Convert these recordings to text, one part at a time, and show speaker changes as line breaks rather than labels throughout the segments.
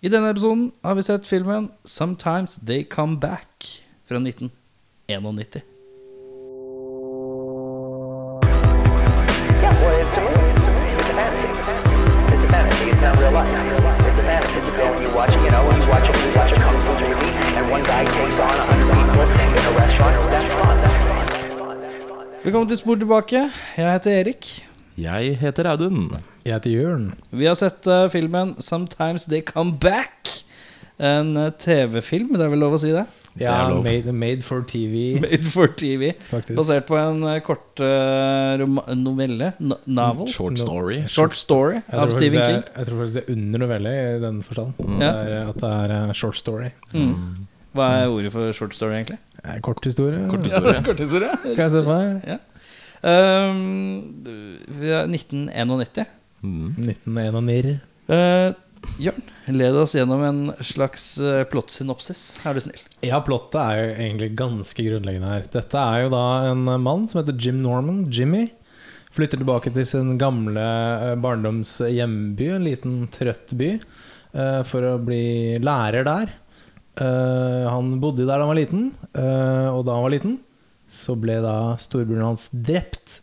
I denne episoden har vi sett filmen Sometimes They Come Back fra 1991.
Yeah, well, it's a movie. It's a fantasy. It's a fantasy. It's not real life. It's a fantasy. You go and you watch, you know, you watch, you watch a kung fu movie, and one guy takes on a hundred people in a restaurant. That's fun. That's fun. That's fun. That's fun.
Velkommen til Spor tilbake. Jeg heter Erik.
Jeg heter Audun.
Jeg heter Jørn.
Vi har sett eh, filmen Sometimes They Come Back. En eh, TV-film, det er vel lov å si det?
er
Ja,
lov.
made, made for TV.
Made for TV.
Faktisk.
Basert på en eh, kort eh, roma- novelle. No novel.
Short story.
Short story
Jeg tror
av
faktisk
Stephen
det er-
King.
Jeg tror faktisk det er under novelle i den forstand.
Ja.
Det er, at det er eh, short story.
Mm. Hva er ordet for short story, egentlig?
Eh, Kort historie.
Kort historie.
Kort historie.
Kan jeg se for meg?
Um, vi er 1991.
Mm.
1991.
Eh, Jørn, led oss gjennom en slags eh, plottsynopsis, er du snill.
Ja, plottet er jo egentlig ganske grunnleggende her. Dette er jo da en mann som heter Jim Norman, Jimmy. Flytter tilbake til sin gamle eh, barndoms hjemby, en liten trøtt by, eh, for å bli lærer der. Eh, Han bodde der da han var liten, eh, og da han var liten, så ble da storebroren hans drept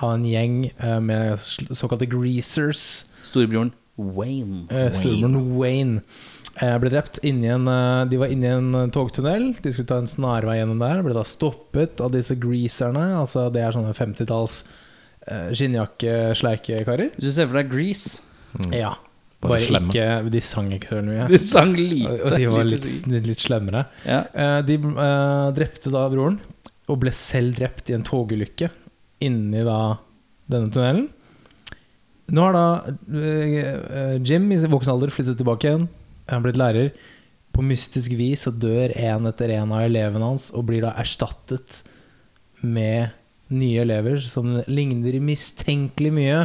av en gjeng eh, med sl- såkalte greasers.
Storebroren Wayne.
Eh, Storebroren Wayne eh, ble drept inni en eh, De var inni en eh, togtunnel. De skulle ta en snarvei gjennom der. Ble da stoppet av disse greaserne. Altså Det er sånne 50-talls eh, skinnjakke-sleikekarer.
Hvis du ser for deg Grease
Ja.
Bare
Bare,
slemme.
ikke De sang ikke så veldig mye.
De sang lite.
Og de var
lite
litt,
sikkert.
litt slemmere.
ja.
Eh, De eh, drepte da broren, og ble selv drept i en togulykke inni da denne tunnelen. Nå har da eh, eh, Jim i sin voksen alder flyttet tilbake igjen. Han er blitt lærer. På mystisk vis så dør en etter en av elevene hans, og blir da erstattet med nye elever som ligner mistenkelig mye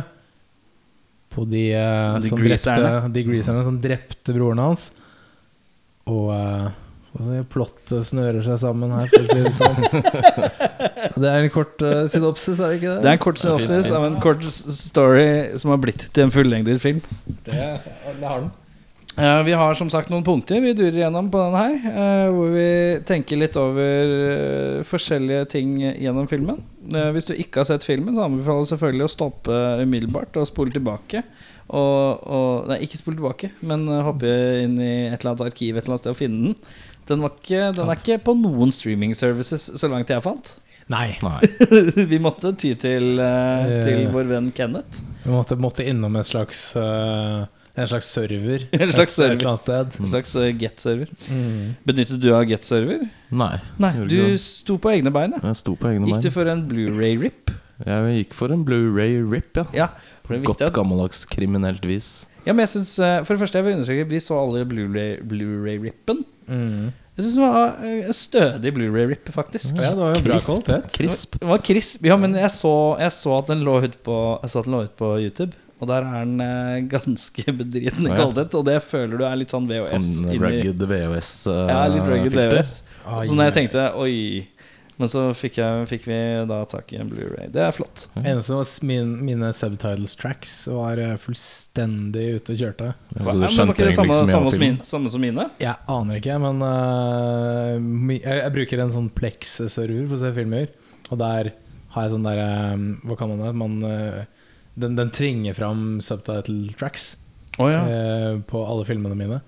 på de, eh,
De
som,
greaserne.
drepte, de greaserne som drepte broren hans. Og eh, hva skal jeg si, plottet snører seg sammen her, for å si det sånn. Det er en kort eh, synopsis, er det ikke det?
Det er en kort synopsis av en kort story som har blitt til en fullengdet film. Eh, vi har som sagt noen punkter vi durer gjennom på den her. eh, hvor vi tenker litt over eh, forskjellige ting gjennom filmen. Eh, hvis du ikke har sett filmen, så anbefaler jeg selvfølgelig å stoppe umiddelbart og spole tilbake. Og, og, nei, ikke spole tilbake, men eh, hoppe inn i et eller annet arkiv et eller annet sted og finne den. Den, var ikke, den er ikke på noen streaming services, så langt jeg fant.
Nei.
Nei.
vi måtte ty til, eh, til
Eh.
vår venn Kenneth.
Vi måtte, måtte innom en slags, eh, en slags server.
En slags
Et-
server. Mm.
Et eller annet
Mm.
sted.
En slags eh, get-server. Benyttet du av get-server?
Mm. Nei.
Nei,
gjorde ikke
du
det.
sto på egne bein. ja.
Jeg sto på egne
Gikk du
bein.
for en Blu-ray-rip?
Jeg gikk for en Blu-ray rip, ja.
Ja, for det er
Godt
viktig at,
gammeldags kriminelt vis.
ja, men jeg synes, eh, For det første, jeg vil understreke vi så aldri Blu-ray-rippen.
Mm.
jeg syns den var eh, en stødig Blu-ray-rip, faktisk.
Ja, det var jo bra kvalitet.
Krisp.
Den var krisp. Ja, men jeg så, jeg så at den lå ute på, jeg så at den lå ut på YouTube. Og der er den eh, ganske bedriten i
Ja.
kvalitet. Og det føler du er litt sånn VHS.
Sånn
inni-
rugged eh, VHS-filter.
ja, litt rugged VHS.
Ai,
Så når jeg
ai, ai.
tenkte oi Men så fikk, jeg, fikk vi da tak i en Blu-ray. Det er flott.
Eneste var s- min, mine subtitles tracks var eh, fullstendig ute og kjørte.
Så
Ja,
du
men var ikke
skjønte
det
egentlig
samme,
ikke så
samme, som
mye
min, samme som mine?
Jeg aner ikke, men eh, my, jeg, jeg bruker en sånn Plex-server for å se filmer. Og der har jeg sånn der eh, Hva kan man det? Man, eh, den, den tvinger fram subtitle tracks
Oh,
eh, på alle filmene mine.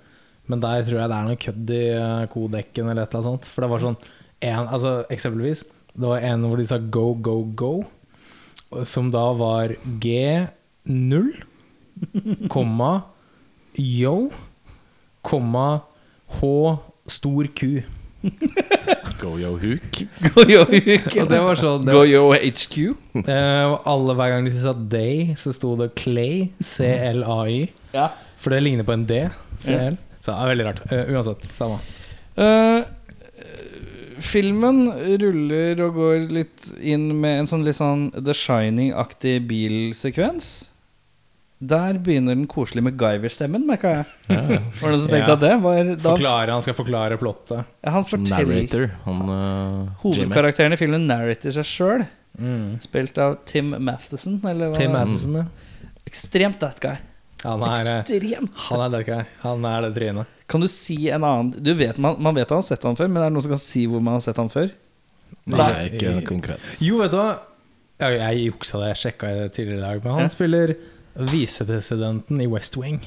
Men der tror jeg det er noe kødd i eh, kodekken eller et eller annet sånt. For det var sånn en, altså, Eksempelvis, det var en hvor de sa go, go, go, og- som da var G0, komma yo, komma H stor Q.
Go-yo-hook.
Og det var sånn det var,
Goyo HQ.
eh, og alle Hver gang de sa they, så sto det clay, C-L-A-Y.
Ja.
For det ligner på en D. CL. Så det er veldig rart. Eh, uansett, samme.
Eh, filmen ruller og går litt inn med en sånn litt sånn The Shining-aktig bilsekvens. Der begynner den koselige MacGyver-stemmen, merka jeg.
Ja, ja.
Var det noen som tenkte
Ja.
at det var da,
Forklare, han skal forklare plottet.
Han forteller
Narrator. Han eh, Jimmy.
Hovedkarakteren i filmen narrater seg sjøl,
Mm.
spilt av Tim Matheson. Eller hva?
Tim Madison, ja.
Ekstremt that guy.
Han er, eh,
Ekstremt.
han er dark guy. Han er det trynet.
Kan du si en annen du vet, man, man vet at han har sett han før, men er det noen som kan si hvor man har sett han før?
Nei, ikke konkret.
Jo, vet du hva? Ja, Jeg juksa det, jeg sjekka det tidligere i dag. Men han spiller visepresidenten i West Wing.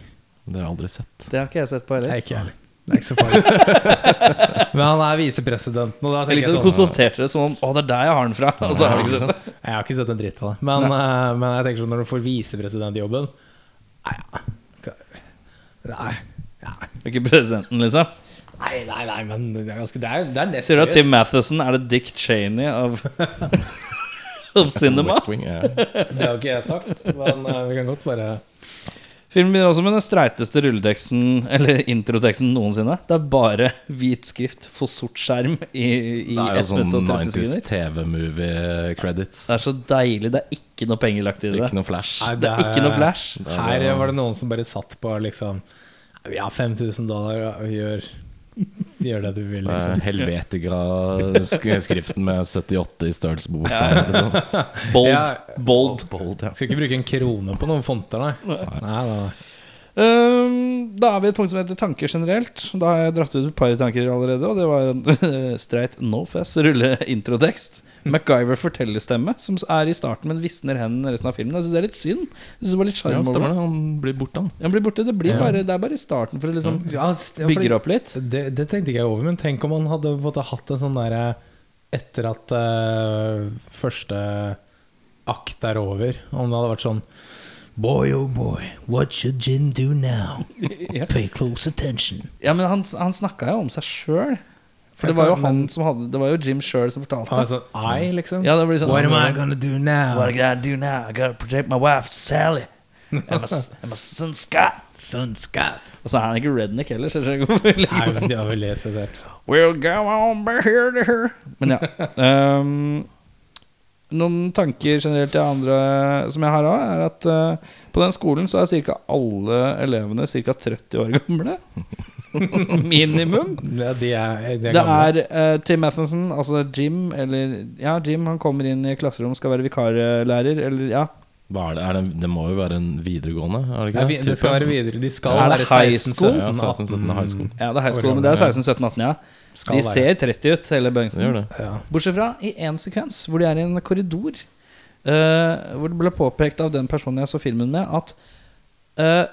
Det har jeg aldri sett.
Det har ikke jeg sett på
Det
heller.
er ikke jeg heller. Det er ikke så farlig. Men han er visepresidenten, og da
Jeg
tenker
likte at du
jeg sånn eh,
konstaterte det som om Å, det er der jeg har den fra! Og så har du ikke sånn. sett det.
Jeg har ikke sett en dritt av det. Men, eh, men jeg tenker sånn når du får visepresidentjobben Nei, ja. Nei.
Ikke presidenten, liksom.
Nei, nei, nei, men det er ganske Det er, det er nest
Sier du at
høyest.
Tim Matheson er det Dick Cheney av Of cinema?
West Wing, ja.
Det har ikke jeg sagt, men eh, vi kan godt bare
Filmen begynner også med den streiteste rulleteksten Eller introteksten noensinne. Det er bare hvit skrift på sort skjerm i, i
Det er jo
1
sånn
minutt og 30
90s
sekunder.
TV-movie credits.
Det er så deilig. Det er ikke noe penger lagt i det.
Ikke noe flash.
Nei,
Det er ikke noe flash.
Det er
Her
bare-
var det noen som bare satt på liksom Vi har 5000 dollar, og gjør, gjør det du vil,
Det
liksom.
er Helvetica-skriften med 78 i størrelse på bokstavene. liksom.
Bold.
Ja.
Bold.
Bold, ja.
Skal ikke bruke en krone på noen fonter, nei. nei, nei, nei.
Um, da er vi et punkt som heter tanker generelt. Da har jeg dratt ut et par tanker allerede. Og det var en streit nofess rulle-introtekst. MacGyver fortellerstemme, som er i starten, men visner hen resten av filmen. Jeg syns det er litt synd. Jeg synes det var litt
ja,
sjarm over
stemmer
det.
det. Han blir borte, han.
Han blir borte. Det, blir
Ja.
bare, det er bare i starten for å liksom
Ja, t- ja, fordi-
bygger opp litt.
Det, det tenkte ikke jeg over, men tenk om han hadde på en måte hatt en sånn derre Etter at eh, første akt er over, om det hadde vært sånn Boy, oh boy, what should Jin do now? Pay close attention.
Ja, men han, han snakka jo om seg sjøl. For det var jo han som hadde Det var jo Jim sjøl som
Han er
fortalte.
sånn I, liksom.
Ja, det blir sånn
What am I gonna do now?
What I gotta do now? I gotta protect my wife, Sally. And my, s- and my son, Scott.
Son Scott.
Og så er han ikke redneck heller. Så jeg skjønner ikke hvorfor vi
Nei,
legger-
men det var veldig spesielt.
We'll go on by here to here. Men ja. ehm, noen tanker generelt til andre som jeg har òg, er at eh, på den skolen så er ca. alle elevene ca. 30 år gamle. Minimum.
Ja, de er, de
Det
er gamle.
er eh, Tim Matheson, altså Jim, eller Ja, Jim, han kommer inn i klasserom, skal være vikarlærer, eller ja.
Hva er det? Er det, det må jo være en videregående? Er det
Ja,
ikke
vi- det skal
Type?
være videre. De skal
Er det
være
high
16,
school?
17,
Ja, 16, 17 high school.
Ja, det er high
År
school, men det er
gamle,
16, 17, 18, ja.
Skal
De
være.
ser 30 ut, hele
Det gjør
bunken.
det.
Ja.
Bortsett fra i én sekvens hvor de er i en korridor, eh, hvor det ble påpekt av den personen jeg så filmen med, at eh,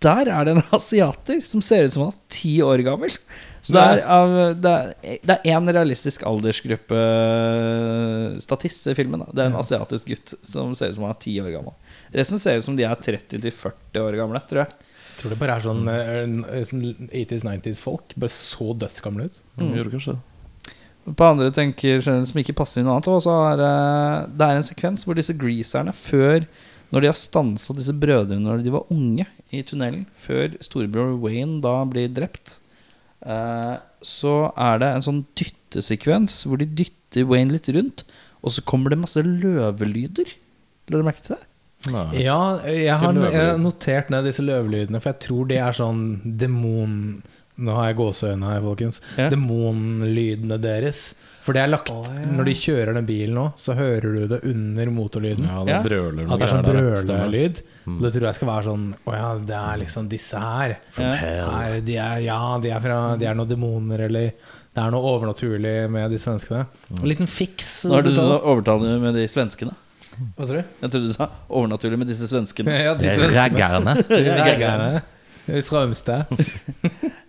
der er det en asiater som ser ut som han er ti år gammel. Så det er, av, det er, det er én realistisk aldersgruppe eh, statist i filmen. Da. Det er en asiatisk gutt som ser ut som han er ti år gammel. Resten ser ut som de er 30 til 40 år gamle, tror jeg.
Tror det bare er sånn, eh, en- sånn 80s, 90s folk. Bare så dødsgamle ut.
Mm. Gjør det kanskje det.
På andre tenker generelt som ikke passer inn noe annet. Og så er eh, det, det er en sekvens hvor disse greaserne før Når de har stansa disse brødrene når de var unge i tunnelen, før storebror Wayne da blir drept, eh, så er det en sånn dyttesekvens hvor de dytter Wayne litt rundt, og så kommer det masse løvelyder. La du merke til det?
Nei.
Ja, jeg har,
Ikke løvelyd.
jeg har notert ned disse løvelydene, for jeg tror det er sånn demon... Nå har jeg gåseøyne her, folkens.
Ja.
Demonlydene deres. For det er lagt Når de kjører den bilen nå, så hører du det under motorlyden.
Ja,
Ja.
det brøler noe
At det er sånn
greier der, stemmer. Mm.
brølelyd. Og Det tror jeg skal være sånn Å ja, det er liksom disse her.
Ja.
her de er, ja, de er, fra, de er noen demoner, eller Det er noe overnaturlig med de svenskene. En liten fiks.
Mm. Nå hørtes det ut som overtalende med de svenskene.
Hva tror du?
Jeg trodde du sa overnaturlig med disse svenskene.
Ja, de svenskene.
Raggerne.
Raggerne. Strømstad.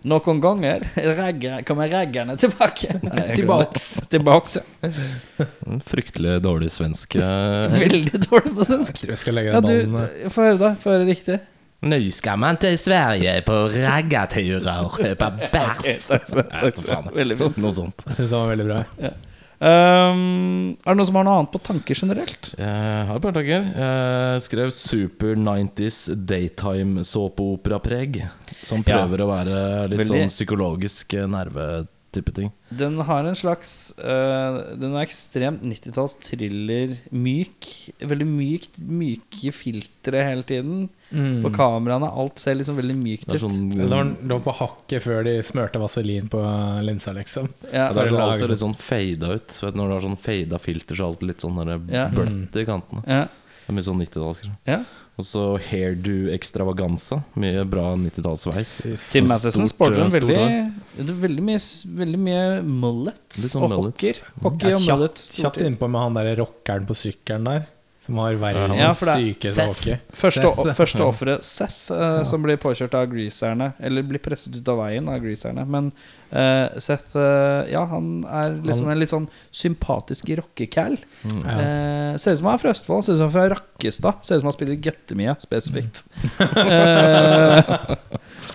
Noen ganger ragger, kommer raggerne tilbake.
Tilbaks.
Tilbaks, ja.
En Fryktelig dårlig svensk eh,
Veldig dårlig på svensk.
Tror jeg skal legge
Ja,
den
du,
ballen eh,
Få høre, da. Få høre riktig.
Nå skal man til Sverige på raggaturer og kjøpe bæsj. Nei, for faen.
Veldig fint.
Noe sånt.
Jeg synes den var veldig bra.
Um, er det noen som har noe annet på tanker generelt?
Jeg Eh, har et par tanker. Jeg skrev super 90s daytime såpeoperapreg. Som prøver å være litt
Veldig.
sånn psykologisk eh, nervetype ting.
Den har en slags øh, Den er ekstremt 90-talls thriller. Myk. Veldig mykt. Myke filtre hele tiden. På kameraene. Alt ser liksom veldig mykt
Mm. Det er
ut.
sånn,
Det var, det var på hakket før de smørte vaselin på eh, linsa, liksom.
Ja,
Ja, det er sånn,
Bare
alt
lager
ser litt sånn fada ut. Så vet, du, når du har sånn fada filter, så er alt litt sånn der
Ja.
bløtt i kantene.
ja.
Det er mye sånn 90-tallsgreier.
Ja.
Og så hairdo extravaganza. Mye bra 90-tallsveis.
Tim
Og
Matheson
stort,
sporter en
stort
veldig,
hår.
det er veldig mye, s- veldig mye mullet
Litt sånn
og hockey.
mullets.
Hockey og
kjapt,
mullet. stort
kjapt innpå med han der rockeren på sykkelen der, som har verdens
Ja, for det er
sykeste
Seth.
hockey.
Første,
Seth,
o-
det.
første offeret, Seth, eh, som blir påkjørt av greaserne. Eller blir presset ut av veien av greaserne. Men eh, Seth eh, Ja, han er liksom en litt sånn sympatisk rockecal.
Ja.
Eh, ser ut som han er fra Østfold, ser ut som han er fra Rakkestad. Ser ut som han spiller Gøttemia spesifikt. Eh,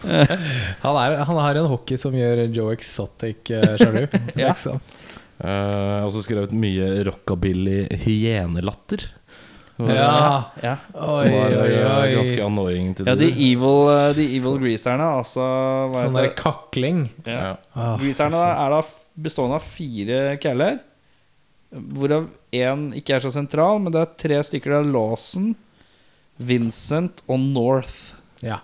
Han, er, han har en hockey som gjør Joe Exotic eh, sjalu.
Ja.
liksom.
Eh, og så skrevet mye rockabilly hyenelatter. Det var-
Ja.
ja.
Oi,
Som var
oi,
eh, ganske
oi.
annoying til
ja, de
tider.
evil, eh, de evil greaserne, altså hva
Sånn der
heter det?
kakling.
Ja.
Ja.
Ah,
Greaserne da, er da f- bestående av fire kæler, hvorav én ikke er så sentral, men det er tre stykker. Det er Lawson, Vincent og North.
ja.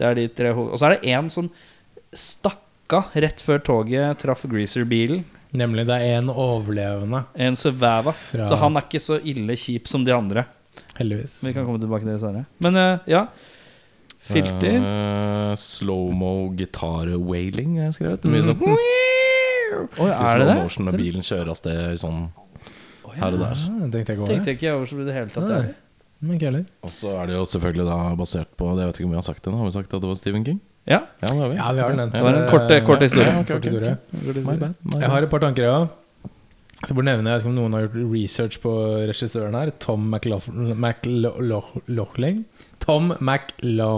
Det er de tre hoved... Og så er det én som stakk av rett før toget traff greaser-bilen.
Nemlig det er en overlevende,
En survivor.
Fra-
Så han er ikke så ille kjip som de andre.
heldigvis.
Men Vi kan komme tilbake til det senere. Men eh, ja. Filter.
Eh, Slow-mo gitar-wailing er skrevet. Mye sånn
Oi,
I
Mhm. er
slow
det
motion når
det?
bilen kjører av sted sånn
Å, ja.
her og der.
Ah, tenkte jeg ikke over
Tenkte
det.
jeg ikke over så i det hele tatt.
Nei.
jeg.
Men ikke heller.
Og så er det jo selvfølgelig da basert på det, Jeg vet ikke om vi har sagt det nå. Har vi sagt at det var Stephen King?
Ja,
Ja, det har vi.
Ja, vi har nevnt
det var en
eh,
kort, kort historie.
ja, kort historie.
My bad. My
Jeg har et par tanker, ja. Så burde jeg nevne, jeg vet ikke om noen har gjort research på regissøren her, Tom McLaughlin. McLaughlin. Tom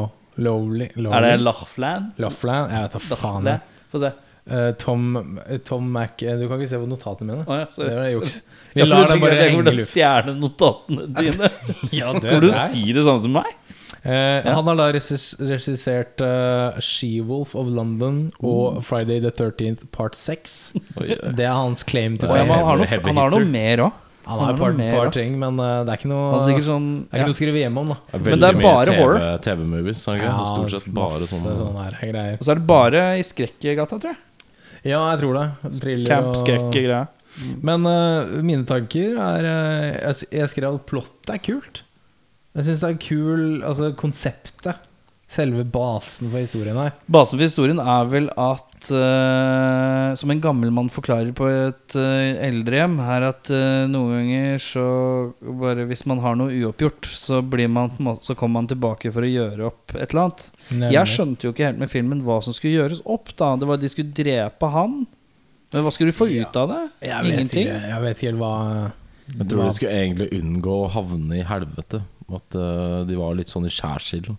McLaughlin.
Er det Lachlan?
Laughlin? Jeg vet da faen.
Lachlan? Få se.
Eh, Tom, Tom Mac... eh, Du kan ikke se på notatene mine.
Å ja, sorry.
Det var juks. Vi
Ja, for du
lar dem
tenker
bare
at jeg
henge
kommer til
i
å
luften.
stjele notatene dine.
Ja, det
Hvor du
er-
si det samme som meg?
Eh,
Ja.
Han har da regis- regissert eh, She-Wolf of London og
Mm.
Friday the 13th part 6. Det er hans claim to
Og ja, men han, har
fame.
noe, han har noe mer òg.
Han har et par,
noe mer,
par
da.
ting, men eh, det er ikke noe
Han er sikkert sånn
Det er ikke
ja.
noe å skrive hjem om, da.
Men det er bare horror.
TV-movies.
Ja,
Stort sett bare
masse
sånne.
sånn
sånne her greier.
Og så er det bare i skrekkgata, tror jeg.
Ja, jeg tror det. Thriller
Camp
og-
skrekk-greia.
Men eh, mine tanker er eh, jeg, s- jeg skrev at plott er kult. Jeg syns det er kul Altså konseptet. Selve basen for historien her.
Basen for historien er vel at eh, Som en gammel mann forklarer på et eh, eldrehjem, er at eh, noen ganger så bare Hvis man har noe uoppgjort, så, blir man, på en måte- så kommer man tilbake for å gjøre opp et eller annet. Jeg skjønte jo ikke helt med filmen hva som skulle gjøres opp. da Det var De skulle drepe han. Men hva skulle du få ut av det?
Jeg vet
Ingenting.
Ikke, jeg vet ikke helt hva
Jeg tror de skulle egentlig unngå å havne i helvete. At eh, de var litt sånn i skjærsilden.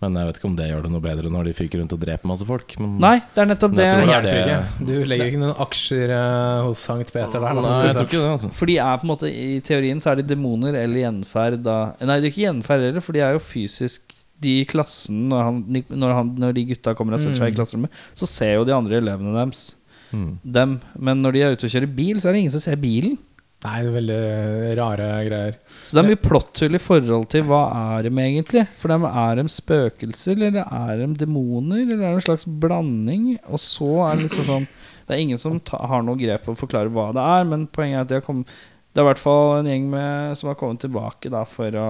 Men jeg vet ikke om det gjør det noe bedre når de fyker rundt og dreper masse folk. Men
Nei, det er nettopp det.
Jeg tror det er
Hjelper ikke. Du legger ikke noen aksjer eh, hos Sankt Peter der. da.
Nei, jeg tror ikke det, altså.
For de er på en måte i teorien så er de demoner eller gjenferd da Nei, det er ikke gjenferd heller, for de er jo fysisk de i klassen når, han, når, han, når de gutta kommer og setter seg i klasserommet, så ser jo de andre elevene deres
Mm.
dem. Men når de er ute og kjører bil, så er det ingen som ser bilen.
Nei, det er veldig eh, rare greier.
Så det er mye plotthull i forhold til hva er dem egentlig. For dem er dem spøkelser, eller er dem demoner, eller er det en slags blanding? Og så er det liksom sånn Det er ingen som ta, har noe grep på å forklare hva det er, men poenget er at de har kommet, det er i hvert fall en gjeng med, som har kommet tilbake da for å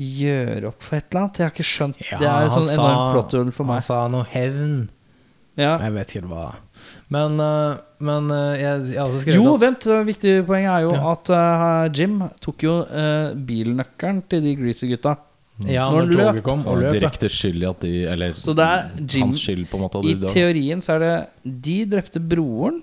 gjøre opp for et eller annet. Jeg har ikke skjønt
Ja,
Det er et
han
sånn
sa-
enormt plotthull for
Han
meg.
sa noe hevn.
Ja.
Jeg vet ikke helt hva. Men, eh, men eh, jeg, jeg har også skrevet
Jo,
at-
vent. eh, Viktig poeng er jo
Ja.
at eh, Jim tok jo eh, bilnøkkelen til de greasy-gutta.
ja,
når
når
han løp,
toget kom
Så
og
han er
løp. ja.
direkte skyld i at de Eller
Så det er Jim-
hans skyld, på en måte. at
I
de da-
teorien så er det De drepte broren,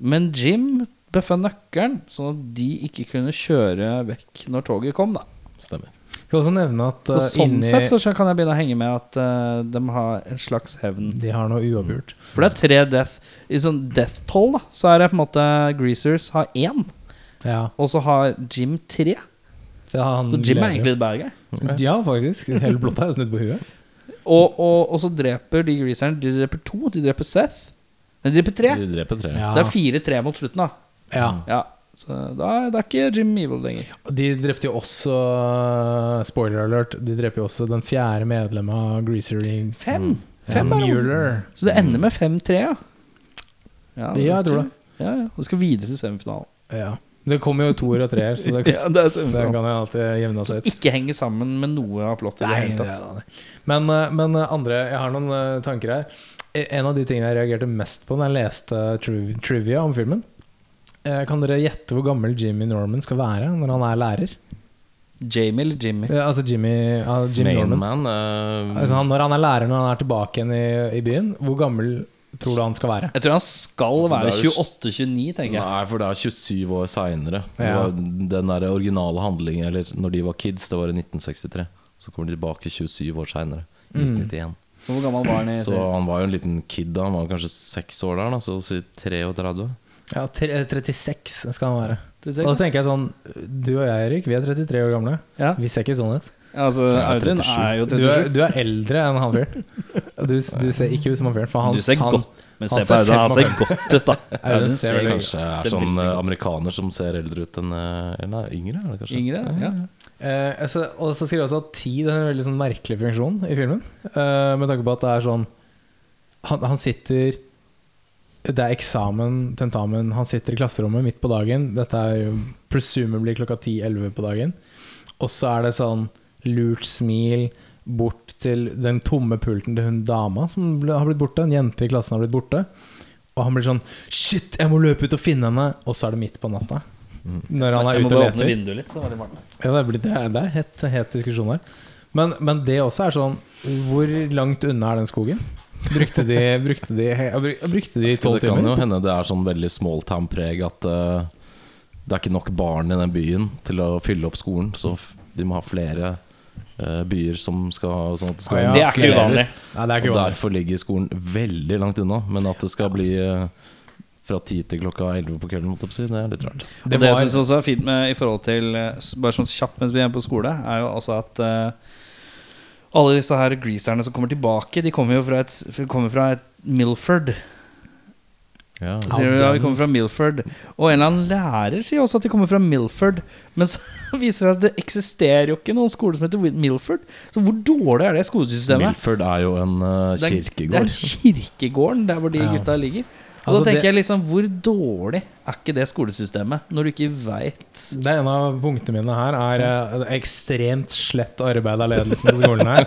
men Jim bøffa nøkkelen, sånn at de ikke kunne kjøre vekk når toget kom. da
Stemmer.
Skal også nevne at
Så
eh,
Sånn
inni
sett så skjø- kan jeg begynne å henge med at eh, de har en slags hevn.
De har noe uoppgjort.
For det er tre death. I sånn death toll da så er det på en måte Greasers har én,
Ja,
og så har Jim tre.
så han
Så Jim er
lever.
egentlig the bad guy.
Ja, faktisk. Hele blotta er snudd på huet.
Og, og, og så dreper de Greaserne De dreper to. De dreper Seth. Nei, de dreper tre.
De dreper tre.
Ja.
Så det er fire-tre mot slutten, da.
Ja.
Ja, så da, er- da er ikke Jim Evil lenger.
De drepte jo også Spoiler alert. De drepte jo også den fjerde medlemmet av Greaser Ring.
Fem! Fem er det.
Mm. Mueller. Mm.
Så det ender med 5-3, ja.
Ja, jeg tror det.
Ja, ja. Du skal videre til semifinalen.
Ja. Det kommer jo toer og treer, så det,
Ja, det er
så
sånn.
det kan jo alltid jevne seg ut.
Ikke henger sammen med noe av plottet. i det
Altså Nei,
hele
det
tatt.
er det. Men, eh, men eh, andre Jeg har noen eh, tanker her. E- En av de tingene jeg reagerte mest på Når jeg leste tri- trivia om filmen Eh, Kan dere gjette hvor gammel Jimmy Norman skal være når han er lærer?
Jamie eller Jimmy?
Eh, Altså Jimmy, ja, Jimmy
Main
Norman.
Man eh,
Altså han, når han er lærer, når han er tilbake igjen i, i byen, hvor gammel tror du han skal være?
Jeg tror han skal
Altså,
være
det er jo-
28-29, tenker jeg.
Nei, for det er 27 år seinere.
Ja.
Den der originale handlingen, eller når de var kids, det var i 1963. Så kommer de tilbake 27 år seinere.
Mm.
1991.
Hvor gammel var han i
Så han var jo en liten kid da. Han var kanskje seks år da, da, så å si 33.
Ja, tre- eh, 36 skal han være. Og da
36?
tenker jeg sånn Du og jeg, Erik, vi er 33 år gamle.
Altså, Ja.
Vi ser ikke sånn ut.
Altså,
Jeg er
Audun
37.
er jo
Du er,
37.
du er eldre enn han fyren. Og Du, du ser ikke ut som han fyren. For han,
Du ser
han,
godt Men
han
se
ser
på Audun, han
fem-
ser godt ut, da.
Audun
Audun
ser
ser
veldig-
veldig
Kanskje jeg
ser
er sånn
veldig
eh,
godt.
amerikaner som ser eldre ut enn eh, eller Nei, yngre er det kanskje.
Yngre, ja.
Eh, altså, og så skriver jeg også at tid er en veldig sånn merkelig funksjon i filmen. Eh, med tanke på at det er sånn han, han sitter Det er eksamen, tentamen. Han sitter i klasserommet midt på dagen. Dette er jo presumably klokka 10-11 på dagen. Og så er det sånn lurt smil bort til den tomme pulten til hun dama som ble, har blitt borte. En jente i klassen har blitt borte. Og han blir sånn Shit, jeg må løpe ut og finne henne! Og så er det midt på natta. Når han er
Jeg må
ute og
bare
leter.
åpne vinduet litt. Så var det varmt.
Ja, det blir- det er, det er het, het diskusjon her. Men, men det også er sånn Hvor langt unna er den skogen? Brukte de, brukte de, he- ja, bruk- brukte de
Så
tolv
det kan jo
timer?
hende det er sånn veldig smalltown-preg at eh, det er ikke nok barn i den byen til å fylle opp skolen, så f- de må ha flere eh, byer som skal Sånn at det skal
Ah, ja.
Det er ikke
flere.
uvanlig.
Nei, det er ikke
Og
uvanlig.
derfor ligger skolen veldig langt unna. Men at det skal bli eh, fra ti til klokka elleve på kvelden, måtte jeg på si, det er litt rart.
Det,
Det
og det jeg
var-
synes også er fint med i forhold til eh, s- Bare sånn kjapt mens vi er på skole, er jo altså at eh, alle disse her greaserne som kommer tilbake, de kommer jo fra et, s- kommer fra et Milford.
Ja,
Så Sier de, ja, vi kommer fra Milford Og en eller annen lærer sier også at de kommer fra Milford. Men så viser det seg at det eksisterer jo ikke noen skole som heter Wil- Milford. Så hvor dårlig er det skolesystemet?
Milford er jo en eh,
Det er- Det
kirkegård.
er kirkegården der hvor de
Ja.
gutta ligger. Og
Altså,
da tenker
det-
jeg liksom, hvor dårlig er ikke det skolesystemet? Når du ikke veit
Det er en av punktene mine her er eh, ekstremt slett arbeid av ledelsen på skolen her.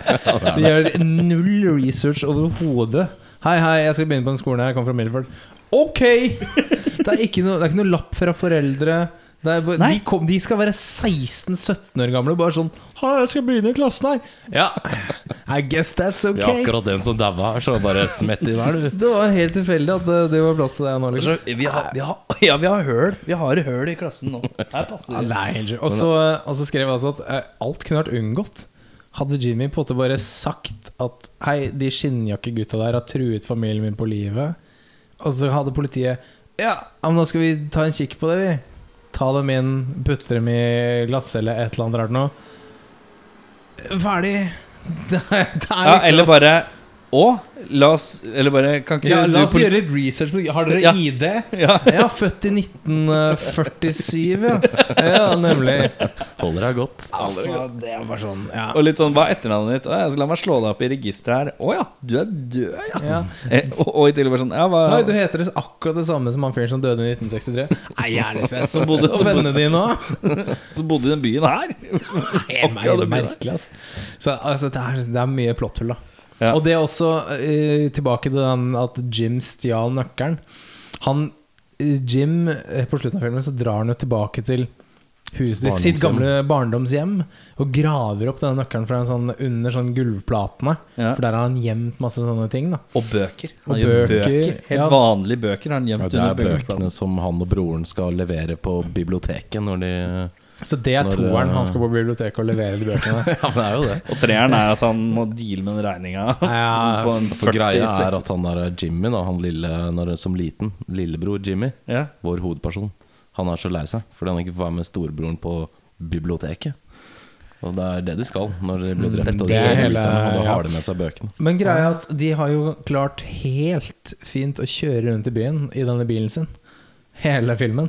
De gjør null research overhodet. Hei, hei, jeg skal begynne på den skolen her. Jeg kommer fra Milford. Ok! Det er ikke noe, det er ikke noe lapp fra foreldre. Det er, bare- de,
Nei.
kom, de skal være 16-17 år gamle og bare sånn Hei, jeg skal begynne i klassen her. Ja, I guess that's ok.
Ja, akkurat den som daua her, så bare smett inn her, du.
det var helt tilfeldig at det, det var plass til deg nå. Liksom.
vi har, vi har, Ja, vi har høl. Vi har høl i klassen nå. Her passer det.
Og så og så skrev jeg altså at eh, alt kunne vært unngått. Hadde Jimmy på en måte bare sagt at Hei, de skinnjakkegutta der har truet familien min på livet. Og så hadde politiet Ja, men nå skal vi ta en kikk på det, vi. Ta dem inn, putte dem i glattcelle, et eller annet rart noe. Ferdig. Det er, det er
Ja,
liksom-
eller bare Å, la oss Eller bare Kan ikke
ja, La oss
poli-
gjøre litt research. men Har dere
Ja.
ID?
ja.
Ja, født i 1947, ja. ja nemlig.
Holder deg godt.
Altså, det er bare sånn ja.
Og litt sånn, hva er etternavnet ditt? Å, jeg skal la meg slå deg opp i registeret her. Å ja, du er død, ja.
Ja.
Eh, og, og i tillegg bare sånn, ja, hva
Nei, du heter det akkurat det samme som han fyren som døde i 1963. Nei, jævlig fest.
Så bodde-
Og vennene dine òg.
Som bodde i den byen her? Akkurat den byen her.
Merkelig, ass. Så altså, det, er, det er mye plotthull, da.
Ja.
Og det er også eh, tilbake til den at Jim stjal nøkkelen. Han eh, Jim, eh, på slutten av filmen, så drar han jo tilbake til huset ditt,
Barndomshjem.
sitt gamle barndomshjem, og graver opp denne nøkkelen fra en sånn, under sånn gulvplatene.
Ja.
For der har han gjemt masse sånne ting, da.
Og bøker. Han
Og
gjør
bøker,
Helt
ja.
vanlige bøker har han
Ja,
gjemt
det er
under
bøkene
bøkene.
som han og broren skal levere på biblioteket når de
Så det er
Når,
toeren.
eh,
Han skal på biblioteket og levere de bøkene.
Ja, men det er jo det.
Og treeren er at han må deale med den regninga.
Ja,
på en
For
40
greia er at han der Jimmy, da, han lille når, som liten, lillebror Jimmy,
ja.
vår hovedperson, han er så lei seg fordi han ikke får være med storebroren på biblioteket. Og det er det de skal når de blir drept. Og de
Mm, det er
ser
hele-
russerne, og da
ja.
har de med seg bøkene.
Men greia er at de har jo klart helt fint å kjøre rundt i byen i denne bilen sin. Hele filmen.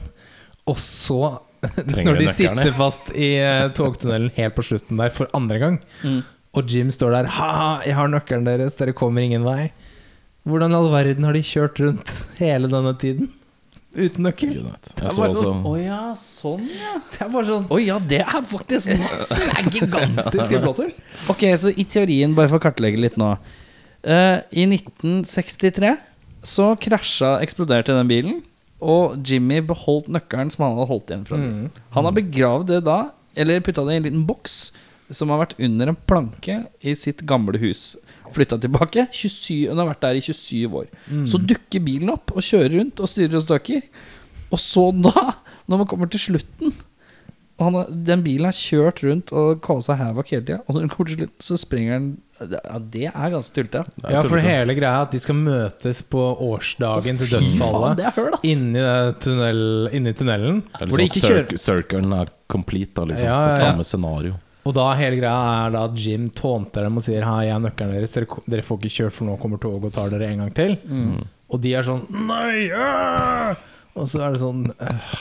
Og så,
Trenger
når
de
de
nøkkerne.
sitter fast i eh, togtunnelen helt på slutten der for andre gang,
Mm.
og Jim står der Ha-ha, jeg har nøkkelen deres, dere kommer ingen vei. Hvordan i all verden har de kjørt rundt hele denne tiden? uten nøkkel.
Gud, vet. Jeg så også
Å ja, sånn, ja.
Det er bare sånn
Å ja, det er faktisk masse! Det er
gigantisk blåtur.
Ok, så i teorien, bare for å kartlegge litt nå Eh, I 1963 så krasja, eksploderte den bilen Og Jimmy beholdt nøkkelen som han hadde holdt igjen fra bilen Han har begravd det da, eller puttet det i en liten boks Som har vært under en planke i sitt gamle hus Flyttet tilbake, 27, hun har vært der i 27 år Så dukker bilen opp og kjører rundt og styrer og støker Og så da, når man kommer til slutten og han, har- den bilen har kjørt rundt og kasa havoc hele tida, og når den kommer til slutt, så springer den Ja, det er ganske tullete.
Det er
Ja, for
tullete.
hele greia er at de skal møtes på årsdagen til
Faen,
dødsfallet.
det er høl, ass!
Inni, det tunnel, inni tunnelen.
Det er
Hvor de
liksom
ikke kjører
cir- Circlen er complete, da, liksom.
Ja, ja,
Det
ja.
samme scenario.
Og da hele greia er da at Jim tånter dem og sier Hei, jeg er nøkkelen deres, dere, ko- dere får ikke kjørt for nå kommer toget og tar dere en gang til.
Mm.
Og de er sånn Nei! ja!» Og så er det sånn «Øh,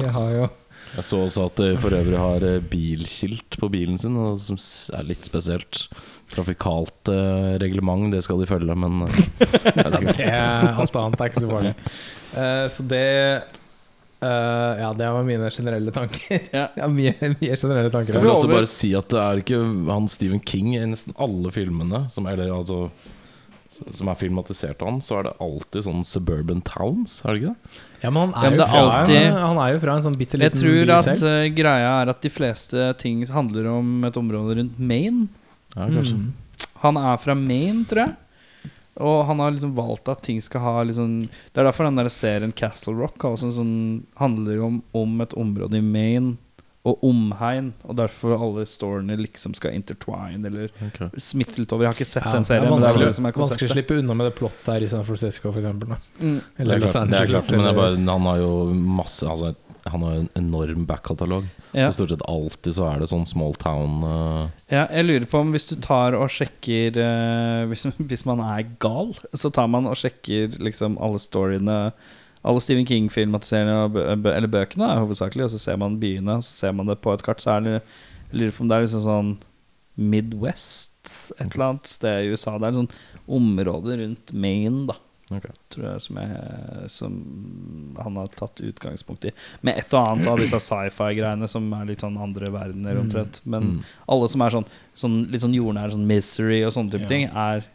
De har jo
Jeg så også at de for øvrig har eh, bilskilt på bilen sin, og som s- er litt spesielt. Trafikalt eh, reglement, det skal de følge, men eh, jeg skal
det, er- Alt annet er ikke så farlig. Eh, så det eh, Ja, det var mine generelle tanker.
Ja.
Ja, mye, mye generelle tanker.
Jeg
vi
vil også
over-
bare si at det er ikke han Stephen King i nesten alle filmene som, eller, altså, som er filmatisert av han, så er det alltid sånn suburban towns, er det ikke det?
Ja, men han
Ja,
er,
men
jo,
det er
fra,
alltid-
en, han er jo fra en sånn bitte
Jeg
liten
tror
by
at
selv.
eh, greia er at de fleste ting handler om et område rundt Maine.
Ja, kanskje.
Mm.
Han er fra Maine, tror jeg. Og han har liksom valgt at ting skal ha liksom Det er derfor den der serien Castle Rock har også en sånn, handler om, om et område i Maine og omhegn. Og derfor alle storyene liksom skal intertwine eller
Ok.
smitte litt over. Jeg har ikke sett
Ja,
den
det er
serien. men det er
vanskelig,
vel det som er
vanskelig å
konseptet.
slippe unna med det plottet her i San Francisco, for eksempel. Da.
Mm.
Det er klart,
Los
det er
Angeles,
klart men det er
eller-
bare, han har jo masse altså, Han har jo en enorm backkatalog.
Ja.
Og stort sett alltid så er det sånn small town eh,
Ja, jeg lurer på om hvis du tar og sjekker eh, hvis, hvis man er gal, så tar man og sjekker liksom alle storyene Alle Stephen King-filmatiseringene og bø- bø- eller bøkene er hovedsakelig, og så ser man byene, og så ser man det på et kart. Så er det, jeg lurer på om det er liksom sånn Midwest, et eller annet sted i USA. Det er et sånt område rundt Maine, da.
Ok.
Tror jeg, som, jeg, som han har tatt utgangspunkt i. Med et og annet av disse sci-fi-greiene som er litt sånn andre verdener omtrent. Men
Mm.
alle som er sånn, sånn litt sånn jordnær, sånn misery og sånne type
Ja.
ting, er litt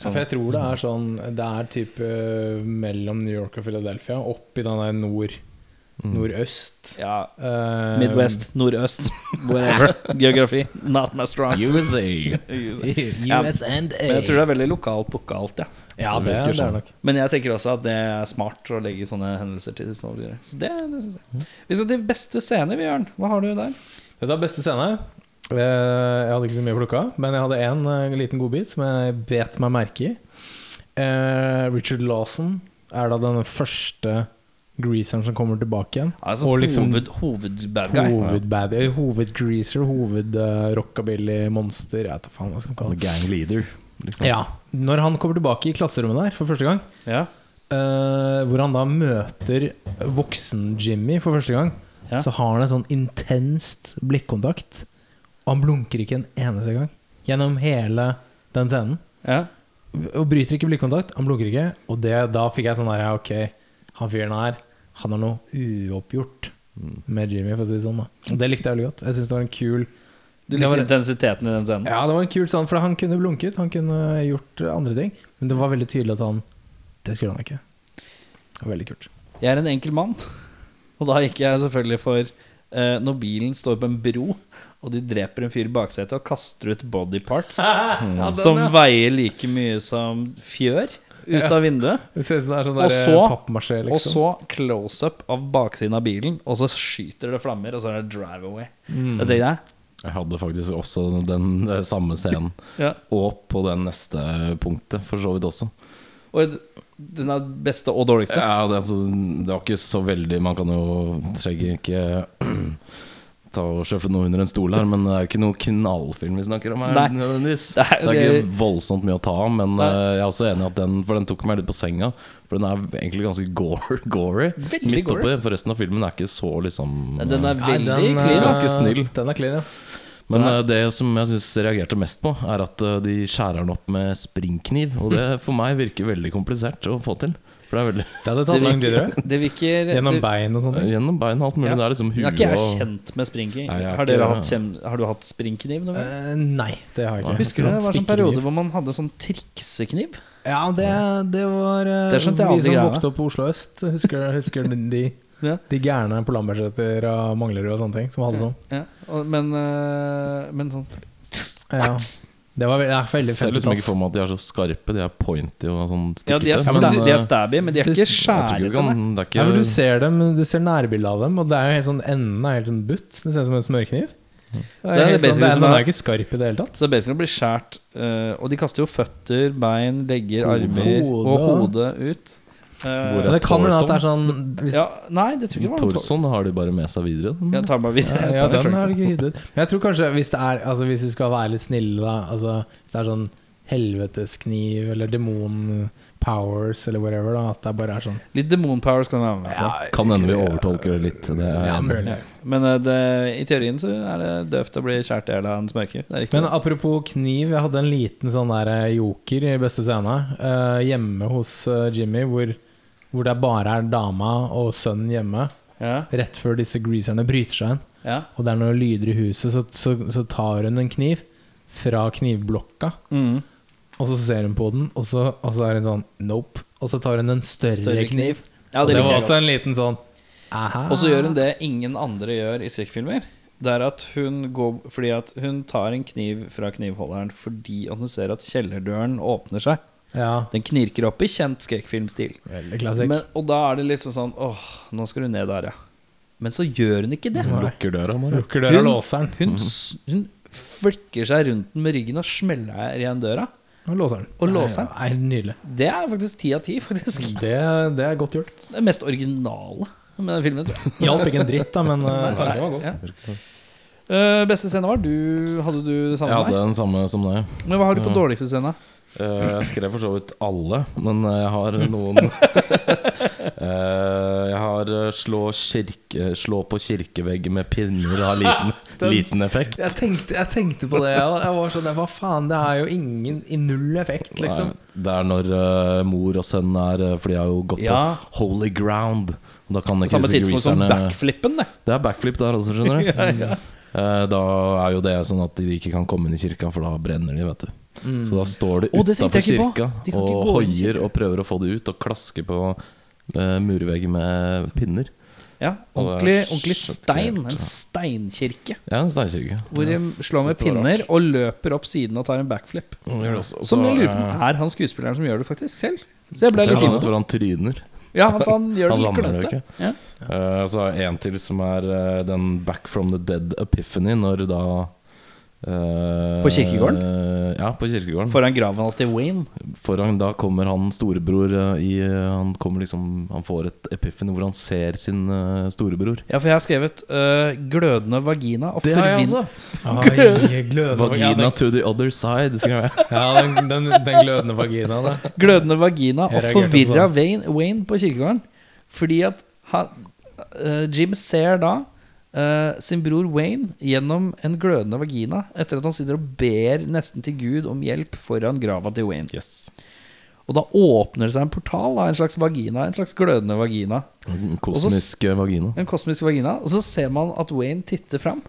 Ja,
sånn
for jeg tror det er sånn Det er type eh, mellom New York og Philadelphia, opp i den der nord,
Mm.
nordøst.
ja,
Eh,
Midwest, nordøst, whatever. Geografi. Not my strong suit.
USA.
USA. Ja, men
US and A.
jeg tror det er veldig lokalt pukkalt, ja.
Eh, Ja,
Det
det,
virker
det er
sånn.
nok.
Men jeg tenker også at det er smart å legge sånne hendelser til. små oppgjør. Så det, det synes
Mm.
jeg. Vi skal til beste scene, vi, Jørn. Hva har du der?
Vet du hva, beste scene? Eh, Jeg hadde ikke så mye plukka, men jeg hadde én eh, liten godbit som jeg bet meg merke i. Eh, Richard Lawson er da den første greaseren som kommer tilbake igjen.
Altså,
Og liksom-
hoved, hovedbad guy.
Hovedbad eh, Hovedgreaser, hovedrockabilly-monster Jeg vet da faen hva jeg skal kalle det.
Gang leader. Liksom.
Ja, Når han kommer tilbake i klasserommet der for første gang,
Ja.
eh, hvor han da møter voksen-Jimmy for første gang,
Ja.
så har han en sånn intenst blikkontakt. Og han blunker ikke en eneste gang gjennom hele den scenen.
ja.
Og bryter ikke blikkontakt. Han blunker ikke. Og det, da fikk jeg sånn der ja, Ok, han fyren her, han har noe uoppgjort med Jimmy, for å si det sånn. da Og det likte jeg veldig godt. Jeg synes det var en kul
Du
det
likte
var,
intensiteten i den scenen?
Ja, det var en kul sånn, for han kunne blunket, han kunne gjort andre ting. Men det var veldig tydelig at han Det skulle han ikke. Det var veldig kult.
Jeg er en enkel mann, og da gikk jeg selvfølgelig for eh, når bilen står på en bro, og de dreper en fyr i baksetet og kaster ut body parts som veier like mye som fjør ut av vinduet,
Det ser ut som det er sånn
Og
der
så-
pappmasjé,
og
liksom.
så close-up av baksiden av bilen, og så skyter det flammer, og så er det drive away. Det tenkte jeg.
Jeg hadde faktisk også den eh, samme scenen.
Ja.
Og på det neste punktet, for så vidt også.
Og den er beste og dårligste.
Ja, det, er altså, det var ikke så veldig Man kan jo trenger ikke ta og sjøfe noe under en stol her, men det er jo ikke noe knallfilm vi snakker om her.
Nei.
nødvendigvis
Det er-
Så det er ikke voldsomt mye å ta av, men
Nei.
eh, jeg er også enig i at den For den tok meg litt på senga, for den er egentlig ganske gore, gory.
Veldig
Midt
gory.
oppi, for resten av filmen er ikke så liksom
Den er
Nei,
veldig
den, eh,
clean. ass.
Ganske snill.
Den er clean, ja.
Men eh, det som jeg syns reagerte mest på, er at eh, de skjærer den opp med springkniv. Og
Mm.
det for meg virker veldig komplisert å få til. For det er veldig
Det hadde tatt lang tid, tror jeg.
Det virker
Gjennom
det-
bein og sånne ting.
Gjennom bein og alt mulig.
Ja.
Det er liksom
Jeg
huet
er ikke jeg
og
kjent med springkniv.
Nei, jeg er
Har, dere
ikke-
hatt kjem- har du hatt springkniv noen gang?
Eh, nei, det har jeg ikke.
Husker du det var sånn periode
Spikkekniv.
hvor man hadde sånn triksekniv?
Ja, det, det var eh,
Det skjønte jeg aldri
Vi som
greia.
vokste opp på Oslo øst, husker, husker de,
Ja.
de gærne på Lambertseter og Manglerud og sånne ting som hadde sånn.
Ja. og- Men, eh, men sånn
Ja. Det var veldig, det er veldig
Ser liksom ikke
fett.
for meg at de er så skarpe. De er pointy og sånn
Ja, de er,
stikkete.
sta
men,
de er
eh,
stabby, men de er
det-
ikke
jeg tror ikke du
skjærete.
kan, det er
Ja,
ikke
men du ser dem, du ser nærbildet av dem, og det er jo helt sånn enden er helt sånn butt. Det ser ut som en smørkniv.
Mm. Så det er
helt sånn-
basically
den-
som
den
er-
er jo ikke skarp i det hele tatt.
Så det er basically blir skjært. eh, og de kaster jo føtter, bein, legger,
Hode.
armer og hodet ut.
Hvor
Uh,
er
Men det kan hende at det er sånn hvis, ja,
ja, nei, det tror jeg ikke det var noe
Torson har de bare med seg videre. den.
Jeg tar meg videre.
ja,
Jeg tar
den
meg-
har det ikke hivd ut. Men jeg tror kanskje hvis det er Altså hvis vi skal være litt snille, da altså, Hvis det er sånn helveteskniv eller demon powers eller whatever, da at det bare er sånn
Litt demonpower skal den være med på.
Kan hende vi overtolker det litt. Det er,
ja, mulig.
Men eh, det, i teorien så er det døvt å bli skjært i hjel av en smørkniv. Det er riktig.
Men apropos kniv, jeg hadde en liten sånn der eh, joker i beste scene eh, hjemme hos eh, Jimmy, hvor, hvor det bare er dama og sønnen hjemme,
ja,
rett før disse greaserne bryter seg inn.
ja.
Og det er noen lyder i huset, så, så, så tar hun en kniv fra knivblokka,
Mm.
og så ser hun på den, og så, og så er hun sånn nope. Og så tar hun en større, kniv.
Ja,
Og
det
det
liker
var
jeg godt.
også en liten sånn aha.
Og så gjør hun det ingen andre gjør i skrekkfilmer. Det er at hun går Fordi at hun tar en kniv fra knivholderen fordi at hun ser at kjellerdøren åpner seg.
Ja,
Den knirker opp i kjent skrekkfilmstil.
veldig klassisk.
Men- Og da er det liksom sånn Åh, nå skal du ned der, ja. Men så gjør hun ikke det.
Nei.
Lukker døra, bare.
Lukker døra
Hun-
og låser den.
Hun, s- hun flikker seg rundt den med ryggen og smeller igjen døra.
Og låser den.
Og låser den.
Nei, nei, Nydelig.
Det er faktisk ti av ti, faktisk.
Det, det er godt gjort.
Det mest originale med den filmen. tror jeg.
Hjalp ikke en dritt, da, men eh,
Nei,
tanken var god.
ja. Eh, beste scene var du Hadde du det samme?
Jeg hadde Mm.
der?
den samme som deg.
Men hva har du på dårligste scene?
Eh, jeg skrev for så vidt alle, men eh, jeg har noen Eh, Jeg har eh, slå, kirke, slå på kirkevegg med pinner har liten, liten effekt.
Jeg tenkte, jeg tenkte på det. og Jeg var sånn, Hva faen, det er jo ingen i null effekt, liksom.
Nei, Det er når eh, mor og sønn er eh, For de har jo gått
Ja.
på holy ground. Og da kan ikke
Samme
disse
tidspunkt som
greaserne-
backflippen, det.
Det er backflip der også, skjønner du. Eh, Da er jo det sånn at de ikke kan komme inn i kirka, for da brenner de, vet du. Så da står de
Mm. Å, det tenkte
utafor
jeg ikke på.
kirka
De kan ikke
og
gå inn i
hoier og prøver å få det ut, og klasker på eh, murveggen med pinner.
Ja,
Og
ordentlig,
det er
ordentlig
skjøtt
stein.
greit, ja.
En steinkirke.
Ja, en steinkirke.
Hvor de slår med
Synes det var
pinner og løper opp siden og tar en backflip.
Mm,
Som jeg lurer på om er han skuespilleren som gjør det faktisk selv. Så jeg ble
eh, Ser
litt
han ut
inne.
hvor han tryner?
Ja, han, han gjør det
Han
litt
lander
klønete.
jo ikke.
Ja.
Eh, og så er det en til som er eh, den Back from the Dead Epiphany, når da eh,
På kirkegården?
eh, ja, på kirkegården.
Foran graven hans til Wayne.
Foran da kommer han storebror eh, i eh, Han kommer liksom Han får et epiphany hvor han ser sin eh, storebror.
Ja, for jeg har skrevet eh, 'glødende vagina' og forvin-
Ai, glødende
Vagina
vagina.
to the other side, skrev jeg.
Ja, den, den, den glødende vaginaen. da.
Glødende vagina og
Jeg reagerte på
forvirra Wayne, Wayne på kirkegården. Fordi at han, eh, Jim ser da eh, sin bror Wayne gjennom en glødende vagina etter at han sitter og ber nesten til Gud om hjelp foran grava til Wayne.
Yes.
Og da åpner det seg en portal, da, en slags vagina, en slags glødende vagina.
Kosmisk eh, vagina.
En kosmisk vagina. Og så ser man at Wayne titter fram.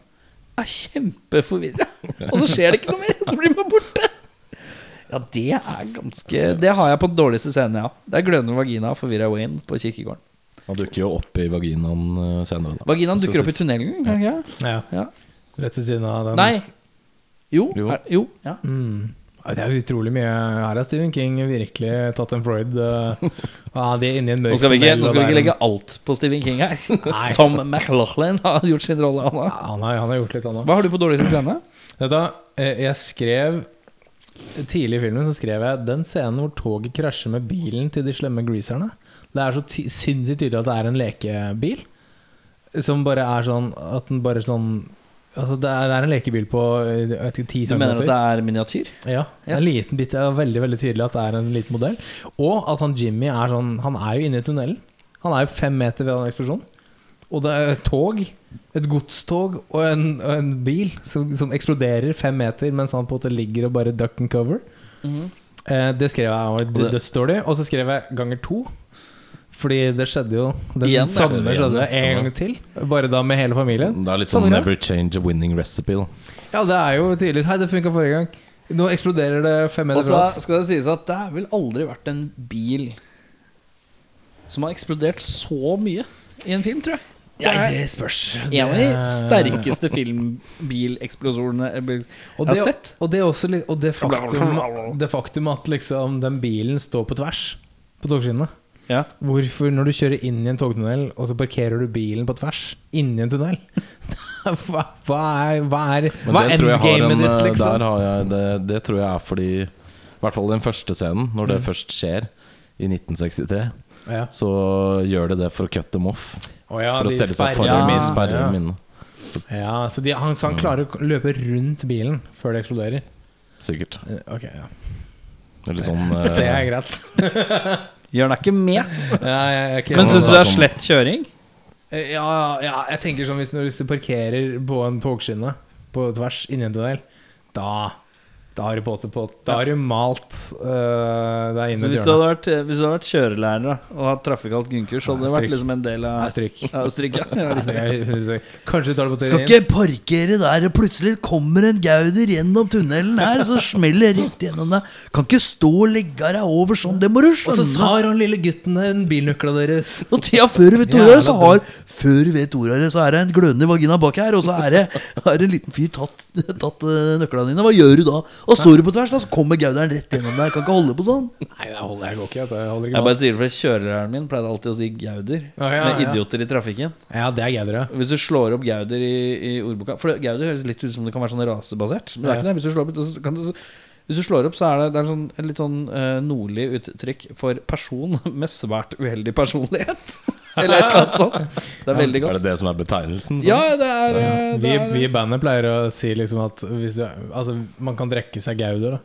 Er kjempeforvirra. Og så skjer det ikke noe mer. Så blir man borte. Ja, det er ganske Det har jeg på den dårligste scenen, ja. Det er glødende vagina og forvirra Wayne på kirkegården.
Han dukker jo opp i vaginaen eh, senere. Da.
Vaginaen
Skal
dukker opp i
sies.
tunnelen, kan den ikke?
Ja,
det? Ja.
rett ved siden av den.
Nei. Jo.
Jo.
Er, jo. Ja.
Mm. Ja, Det er utrolig mye Her har Stephen King virkelig tatt en Freud. eh, ah, de er inne i en mørk
Nå skal vi ikke,
tunnel,
nå
og
skal vi ikke
det er en-
legge alt på Stephen King her.
Nei.
Tom McLaughlin har gjort sin rolle, han
Ja,
òg.
han, har, han har gjort litt, han òg.
Hva har du på dårligste scene?
Dette, eh, jeg skrev Tidlig i filmen så skrev jeg den scenen hvor toget krasjer med bilen til de slemme greaserne. Det er så ty sinnssykt tydelig at det er en lekebil. Som bare er sånn At den bare sånn Altså det er, det er en lekebil på eh, jeg vet ikke, 10
Du mener at det
centimeter.
er miniatyr?
Ja,
Ja.
en liten bit, det er veldig veldig tydelig at det er en liten modell. Og at han Jimmy er sånn Han er jo inne i tunnelen. Han er jo fem meter ved den eksplosjonen. Og det er et tog. Et godstog og en, og en bil som, som eksploderer fem meter mens han på en måte ligger og bare duck and cover. Eh, det skrev jeg var
det-
dødsdårlig. Og så skrev jeg ganger to. Fordi det skjedde jo den
Igjen, Mm. det
samme
skjedde igjen,
skjedde
det
en
samme.
gang til. Bare da med hele familien.
Det er litt sånn
Samme greie.
never change a winning recipe. Da.
Ja, det er jo tydelig. Hei, det funka forrige gang. Nå eksploderer det fem
Og
meter
så
fra oss.
skal det sies at det har vel aldri vært en bil som har eksplodert så mye i en film, tror jeg. Det
spørs.
er en av de sterkeste filmbileksplosjonene jeg bil- jeg
Og
har
det,
sett.
og det, er også, litt- og det, faktum, det faktum at liksom den bilen står på tvers på togskinnene.
Ja.
Hvorfor, når du kjører inn i en togtunnel, og så parkerer du bilen på tvers inni en tunnel? Hva, hva er, hva er,
Men
hva
det
er
tror jeg har
endgamet
en, eh,
ditt, liksom?
der har jeg, det, det tror jeg er fordi I hvert fall den første scenen, når det først skjer i 1963,
Ja.
så gjør det det for å cut dem off.
Å ja,
For å
de
stelle seg foran
sperrer-
ja, sperrer Mm.
ja.
minnet.
Ja, så de, han, så han klarer å løpe rundt bilen før det eksploderer?
Sikkert.
Eh, Ok, ja.
Eller sånn
Det
eh,
er greit.
Gjør den ikke med.
Ja, jeg, jeg,
Men
synes
syns du det er slett kjøring?
Eh, Ja, ja, jeg tenker sånn hvis du hvis du parkerer på en togskinne på tvers inni en tunnel, da da har du på en måte på Da har du malt øh, deg inn
Så
i et
hvis, du
hjørne.
hadde vært, eh, hvis du hadde vært kjørelærer da, og hatt trafikalt grunnkurs, hadde det
Nei,
vært
stryk.
liksom en del
Nei,
av
stryk.
ja, stryk, ja. Ja,
Nei,
riktig.
jeg- jeg- jeg- Kanskje du tar det på
Eh,
teorien.
parkere der, og plutselig kommer en gauder gjennom tunnelen her, og så smeller det rett gjennom deg. Kan ikke stå og legge deg over sånn, det må du
Og så har han lille gutten der bilnøkla deres.
Og tida før du vet ordet av det, så
Jævla
har Før du vet ordet av det, så er det en glødende vagina bak her, og så er det har en liten fyr tatt, tatt eh, nøklene dine. Hva gjør du da? Da står du på tvers, da, så kommer gauderen rett gjennom deg. Kan ikke holde på sånn.
Nei, det holder jeg går ikke. vet du. Jeg holder ikke
Jeg bare
med.
sier det fordi kjørelæreren min pleide alltid å si Gauder.
Ja, ja,
med
ja.
idioter i trafikken.
Ja, det er gaudere.
Hvis du slår opp Gauder i, i ordboka For det- Gauder høres litt ut som det kan være sånn rasebasert. Men det er ikke det. Hvis du slår opp, så kan du, hvis du slår opp så er det, det er sånn, et litt sånn eh, nordlig uttrykk for person med svært uheldig personlighet. Eller et eller annet sånt. Det er veldig
Er
godt.
det det som er betegnelsen?
Ja, det er, eh,
Vi,
det er
vi i bandet pleier å si liksom at hvis du, altså, man kan drikke seg gauder, da.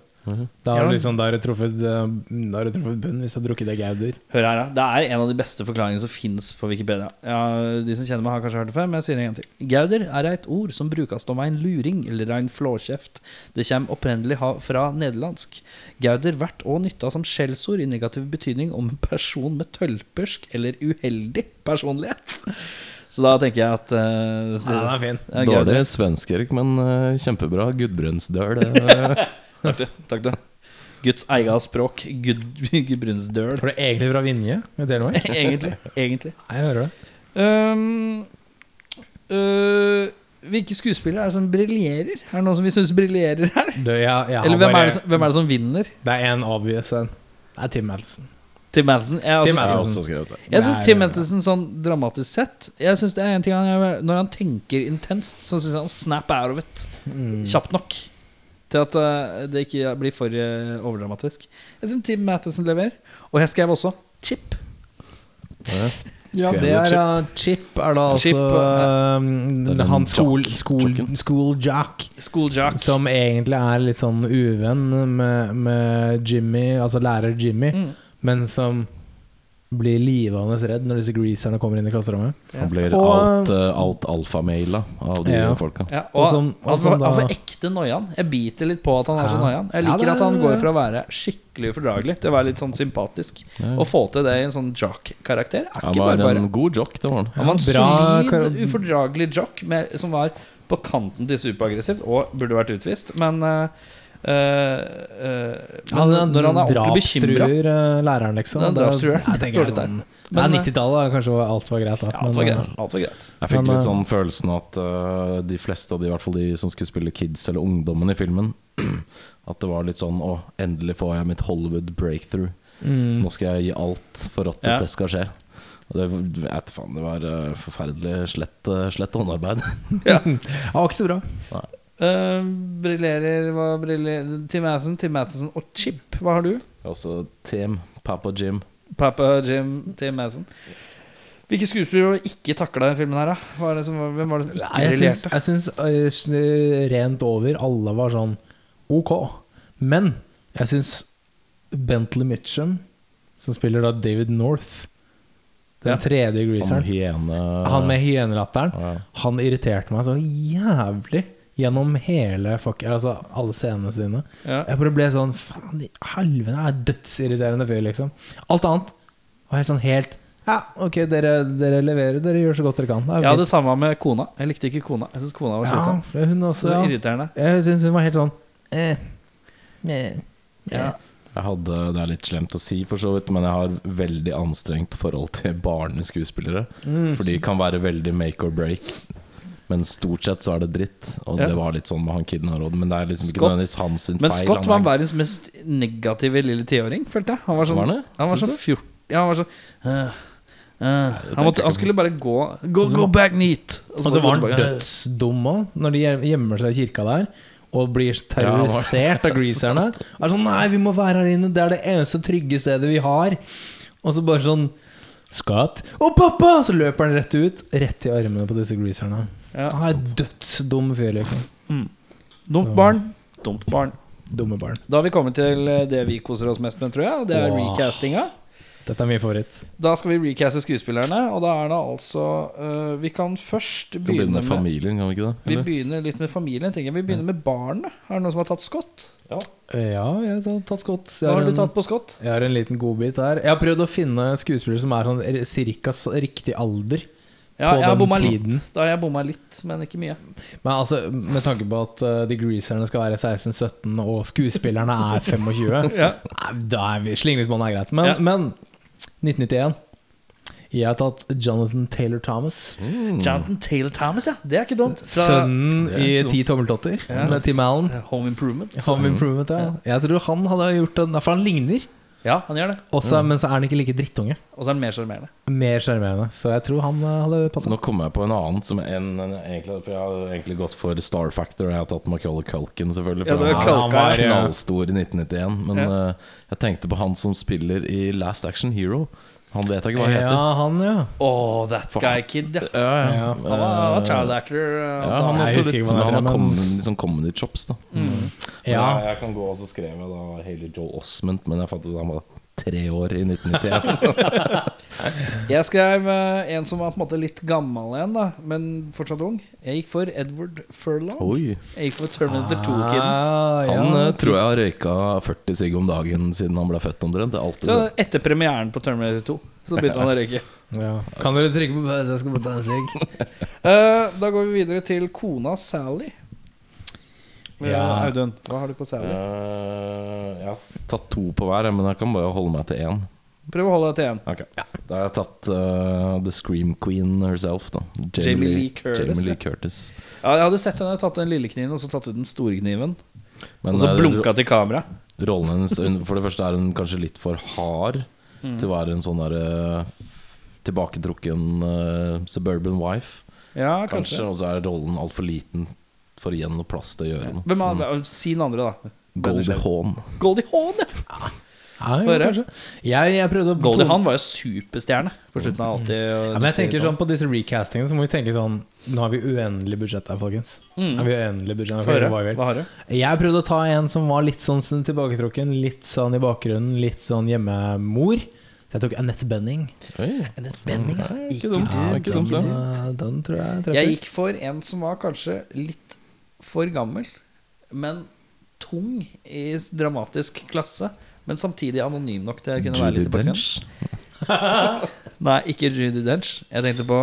Da har du liksom, da har du truffet, øh, da har du truffet bunnen hvis du har drukket deg gauder.
Hør her, da. Det er en av de beste forklaringene som fins på Wikipedia. Ja, de som kjenner meg, har kanskje hørt det før, men jeg sier det en gang til. Gauder er et ord som brukes om en luring eller en flåkjeft. Det kommer opprinnelig ha- fra nederlandsk. Gauder blir også nytta som skjellsord i negativ betydning om en person med tølpersk eller uheldig personlighet. Så da tenker jeg at eh,
Ja, den er fin.
ja, Gauder.
Dårlig svensk, Erik, men eh, kjempebra. Gudbrandsdøl.
Takk, du. Takk, du. Guds eget språk. Gud, Gudbrandsdøl.
For det er egentlig fra Vinje i Telemark?
Egentlig. Egentlig.
Nei, jeg hører det.
Um, øh, hvilke skuespillere er det som briljerer? Er det noen som vi syns briljerer her?
Du, jeg, jeg
Eller
har
hvem
bare,
er, det som, hvem er det som vinner?
det er en obvious en. Det er Tim Madison.
Tim Matheson. Jeg,
Tim
altså,
Matheson.
skrevet det.
jeg syns
Nei,
Tim
nei, nei.
Matheson sånn dramatisk sett Jeg synes det er en ting han gjør Når han tenker intenst, så syns jeg han snap out of it
Mm.
kjapt nok. Til at øh, det ikke blir for øh, overdramatisk. Jeg syns Tim Matheson leverer. Og jeg skrev også Chip.
Ja,
Skrevet
det er
Chip.
ja, Chip er da
Chip,
altså
Det er
um,
den
han skol,
jock-
skol,
jocken.
skol Jack,
School Jack.
som egentlig er litt sånn uvenn med, med Jimmy, altså lærer Jimmy,
Mm.
men som blir livende redd når disse greaserne kommer inn i klasserommet.
Han blir
Og-
alt, eh, alt alfamaila av de
Ja.
folka.
Ja, og
Og som- og
han,
som
får,
da-
han får ekte noiaen. Jeg biter litt på at han er så
Ja.
noiaen. Jeg
Ja,
liker
det er-
at han går fra å være skikkelig ufordragelig til å være litt sånn sympatisk. Å få til det i en sånn jock-karakter er
Han
ikke
var
bare bare.
en god jock, det var han.
Han var en
Bra
solid,
kar-
ufordragelig jock med, som var på kanten til superaggressivt og burde vært utvist, men eh, eh, eh, men når han er ordentlig bekymra
drapstruer, eh, læreren, liksom.
Han
Da-
drapstruer.
Jeg tenker
Dårlig
det er sånn-
tegn.
Ja,
Men, eh,
90-tallet kanskje var- alt var greit, da.
ja, alt var
men, eh,
greit. Alt var greit.
Jeg fikk
Men,
litt
eh,
sånn følelsen at eh, de fleste av de, i hvert fall de som skulle spille kids eller ungdommen i filmen, at det var litt sånn Å, endelig får jeg mitt Hollywood breakthrough.
Mm.
Nå skal jeg gi alt for at
Ja.
dette skal skje. Og det, jeg vet faen, det var eh, forferdelig slett, eh, slett håndarbeid.
Ja, var ikke så bra.
Eh, brillerer, hva brillerer Tim Matheson, Tim Matheson og Chip, hva har du?
Også Tim, Papa Jim.
Papa Jim Tim Madison. Hvilke skuespillere var det ikke takla i filmen her, da? Hva er det som, hvem var det som ikke
Nei, jeg syns-
briljerte?
jeg syns eh, sn- rent over alle var sånn ok. Men jeg syns Bentley Mitchum, som spiller da David North, Den tredje
Han
greaseren.
hyene
Han med hyenelatteren.
ja.
Han irriterte meg så jævlig gjennom hele fuck, altså alle scenene sine.
Ja.
Jeg bare ble sånn Faen i helvete, det er dødsirriterende fyr, liksom. Alt annet var helt sånn helt Ja, ok, dere, dere leverer, dere gjør så godt dere kan. Det er
Jeg hadde
fint.»
det samme med kona. Jeg likte ikke kona. Jeg synes kona var
ja,
slitsom.
for hun
liksom. Så
også, ja.
irriterende.
Jeg syns hun var helt sånn eh, eh,
Ja.
Jeg hadde, Det er litt slemt å si, for så vidt, men jeg har veldig anstrengt forhold til barneskuespillere.
Mm.
For de kan være veldig make or break, men stort sett så er det dritt. Og
Ja.
det var litt sånn med han kiden her også, men det er liksom ikke
Scott-
nødvendigvis hans sin
Men
feil.
Scott
han
var
er-
verdens mest negative lille tiåring, følte jeg. Han var sånn,
Var han det?
Han var
Syns
sånn
du?
14 Ja, han var sånn øh, øh. han,
tenker
måtte, han
ikke.
skulle bare gå Go,
så
go
må-
back neat! Og
Og så
bare
var
gå
han
tilbake.
dødsdum òg, når de gjem- gjemmer seg i kirka der. Og blir
Ja, han var-
terrorisert av greaserne. Er sånn, nei, vi må være her inne, det er det eneste trygge stedet vi har. Og så bare sånn Skatt. Å, pappa! Så løper han rett ut. Rett i armene på disse greaserne.
Ja.
Han er dødsdum fyr, liksom.
Dumt barn. Dumt barn.
Dumme barn.
Da har vi kommet til eh, det vi koser oss mest med, tror jeg. Og det er
Åh.
recastinga.
Dette er min favoritt.
Da skal vi recaste skuespillerne, og da er det altså eh, Vi kan først
Vi kan begynne
begynne
med
med
familien, kan vi ikke det?
Vi
Eller?
begynner litt med familien. tenker jeg Vi begynner med barnet. Er det noen som har tatt Scott?
Ja, jeg har tatt Scott. Jeg
Hva
har
har du
en-
tatt på Scott?
Jeg har en liten godbit her. Jeg har prøvd å finne skuespillere som er sånn r- cirka s- riktig alder.
Ja,
På
jeg har
den
bomma litt.
tiden.
Da har jeg bomma litt, men ikke mye.
Men altså, med tanke på at eh, de greaserne skal være 16-17, og skuespillerne er 25
Ja.
nei, Da er vi Slingringsmonn er greit. Men,
Ja.
men 1991 Jeg har tatt Jonathan Taylor Thomas.
Mm.
Jonathan Taylor Thomas, ja. Det er ikke dumt. Fra
Sønnen i Ti tommeltotter
Ja.
med Tim Allen.
Home Improvement.
Home Improvement, ja. Jeg tror han hadde gjort det, for han ligner,
Ja, han gjør det.
også, men så er han ikke like drittunge.
Og så er han mer sjarmerende.
Mer sjarmerende. Så jeg tror han eh, hadde passa.
Nå kommer jeg på en annen som en, en, egentlig, For jeg har egentlig gått for Star Factor. Jeg har tatt Macaulay Culkin, selvfølgelig.
Ja,
For
det er
han,
Culkin.
han var knallstor i 1991. Men
Ja.
eh, jeg tenkte på han som spiller i Last Action Hero. Han vet jeg ikke hva han
Ja,
heter.
han, ja.
Oh, that
Faen.
guy kid, ja.
Ja, ja.
Ja.
Han var, han var child actor. eh,
Ja, han
Nei,
er
jeg
så
husker
litt
ikke hva han
Han
heter,
har
men-
kommet litt sånn comedy chops, da.
Mm.
ja.
Jeg, jeg kan gå og så skrev jeg da Haley Joel Osment, men jeg fant ut at han var tre år i 1991. Så.
Jeg skrev eh, en som var på en måte litt gammel igjen, da, men fortsatt ung. Jeg gikk for Edward Furlong.
Oi.
Jeg gikk for Terminator 2-kiden.
Ah, ja.
Han eh, tror jeg har røyka 40 sigg om dagen siden han ble født, omtrent. Det er alltid
Så
sånn.
etter premieren på Terminator 2 så begynte han å røyke.
Ja. Kan dere trykke på pause? Jeg skal bare ta en sigg.
Eh, da går vi videre til kona Sally. Eh,
Ja.
Audun, hva har du på Sally?
Eh, jeg har s- tatt to på hver, men jeg kan bare holde meg til én.
Prøv å holde deg til én.
Ok. Da har jeg tatt eh, The Scream Queen herself, da.
Jamie Lee Curtis,
Jamie
ja.
Lee Curtis.
Ja, jeg hadde sett henne tatt den lille kniven og så tatt ut den store kniven.
Men,
Og så
eh,
blunka til kamera.
ro- Rollen hennes hun- For det første er hun kanskje litt for hard
Mm.
til å være en sånn derre tilbaketrukken eh, suburban wife,
Ja,
kanskje.
kanskje.
Og så er rollen altfor liten for igjen noe plass til å gjøre noe.
Hvem av, Si den andre, da.
Goldie Hawn.
Goldie Hawn, ja.
Ja, jo,
Høre.
kanskje. Jeg, jeg prøvde å
Goldie Hawn var jo superstjerne på slutten av 80. og
Ja, men jeg tenker
90-tallet.
sånn På disse recastingene så må vi tenke sånn Nå har vi uendelig budsjett her, folkens. Har vi uendelig budsjett
Få
vi
høre.
gjør sånn, hva vi vil.
Hva har du?
Jeg prøvde å ta en som var litt sånn sånn tilbaketrukken, litt sånn i bakgrunnen, litt sånn hjemmemor. Så jeg tok Annette Benning.
Oi. Nei, ikke dumt.
Ja,
Ikke dumt, det.
den, eh, den tror jeg treffer.
Jeg gikk for en som var kanskje litt for gammel, men tung i dramatisk klasse. Men samtidig anonym nok til å kunne være
Judi
litt tilbake.
Dench.
Nei, ikke Judy Dench. Jeg tenkte på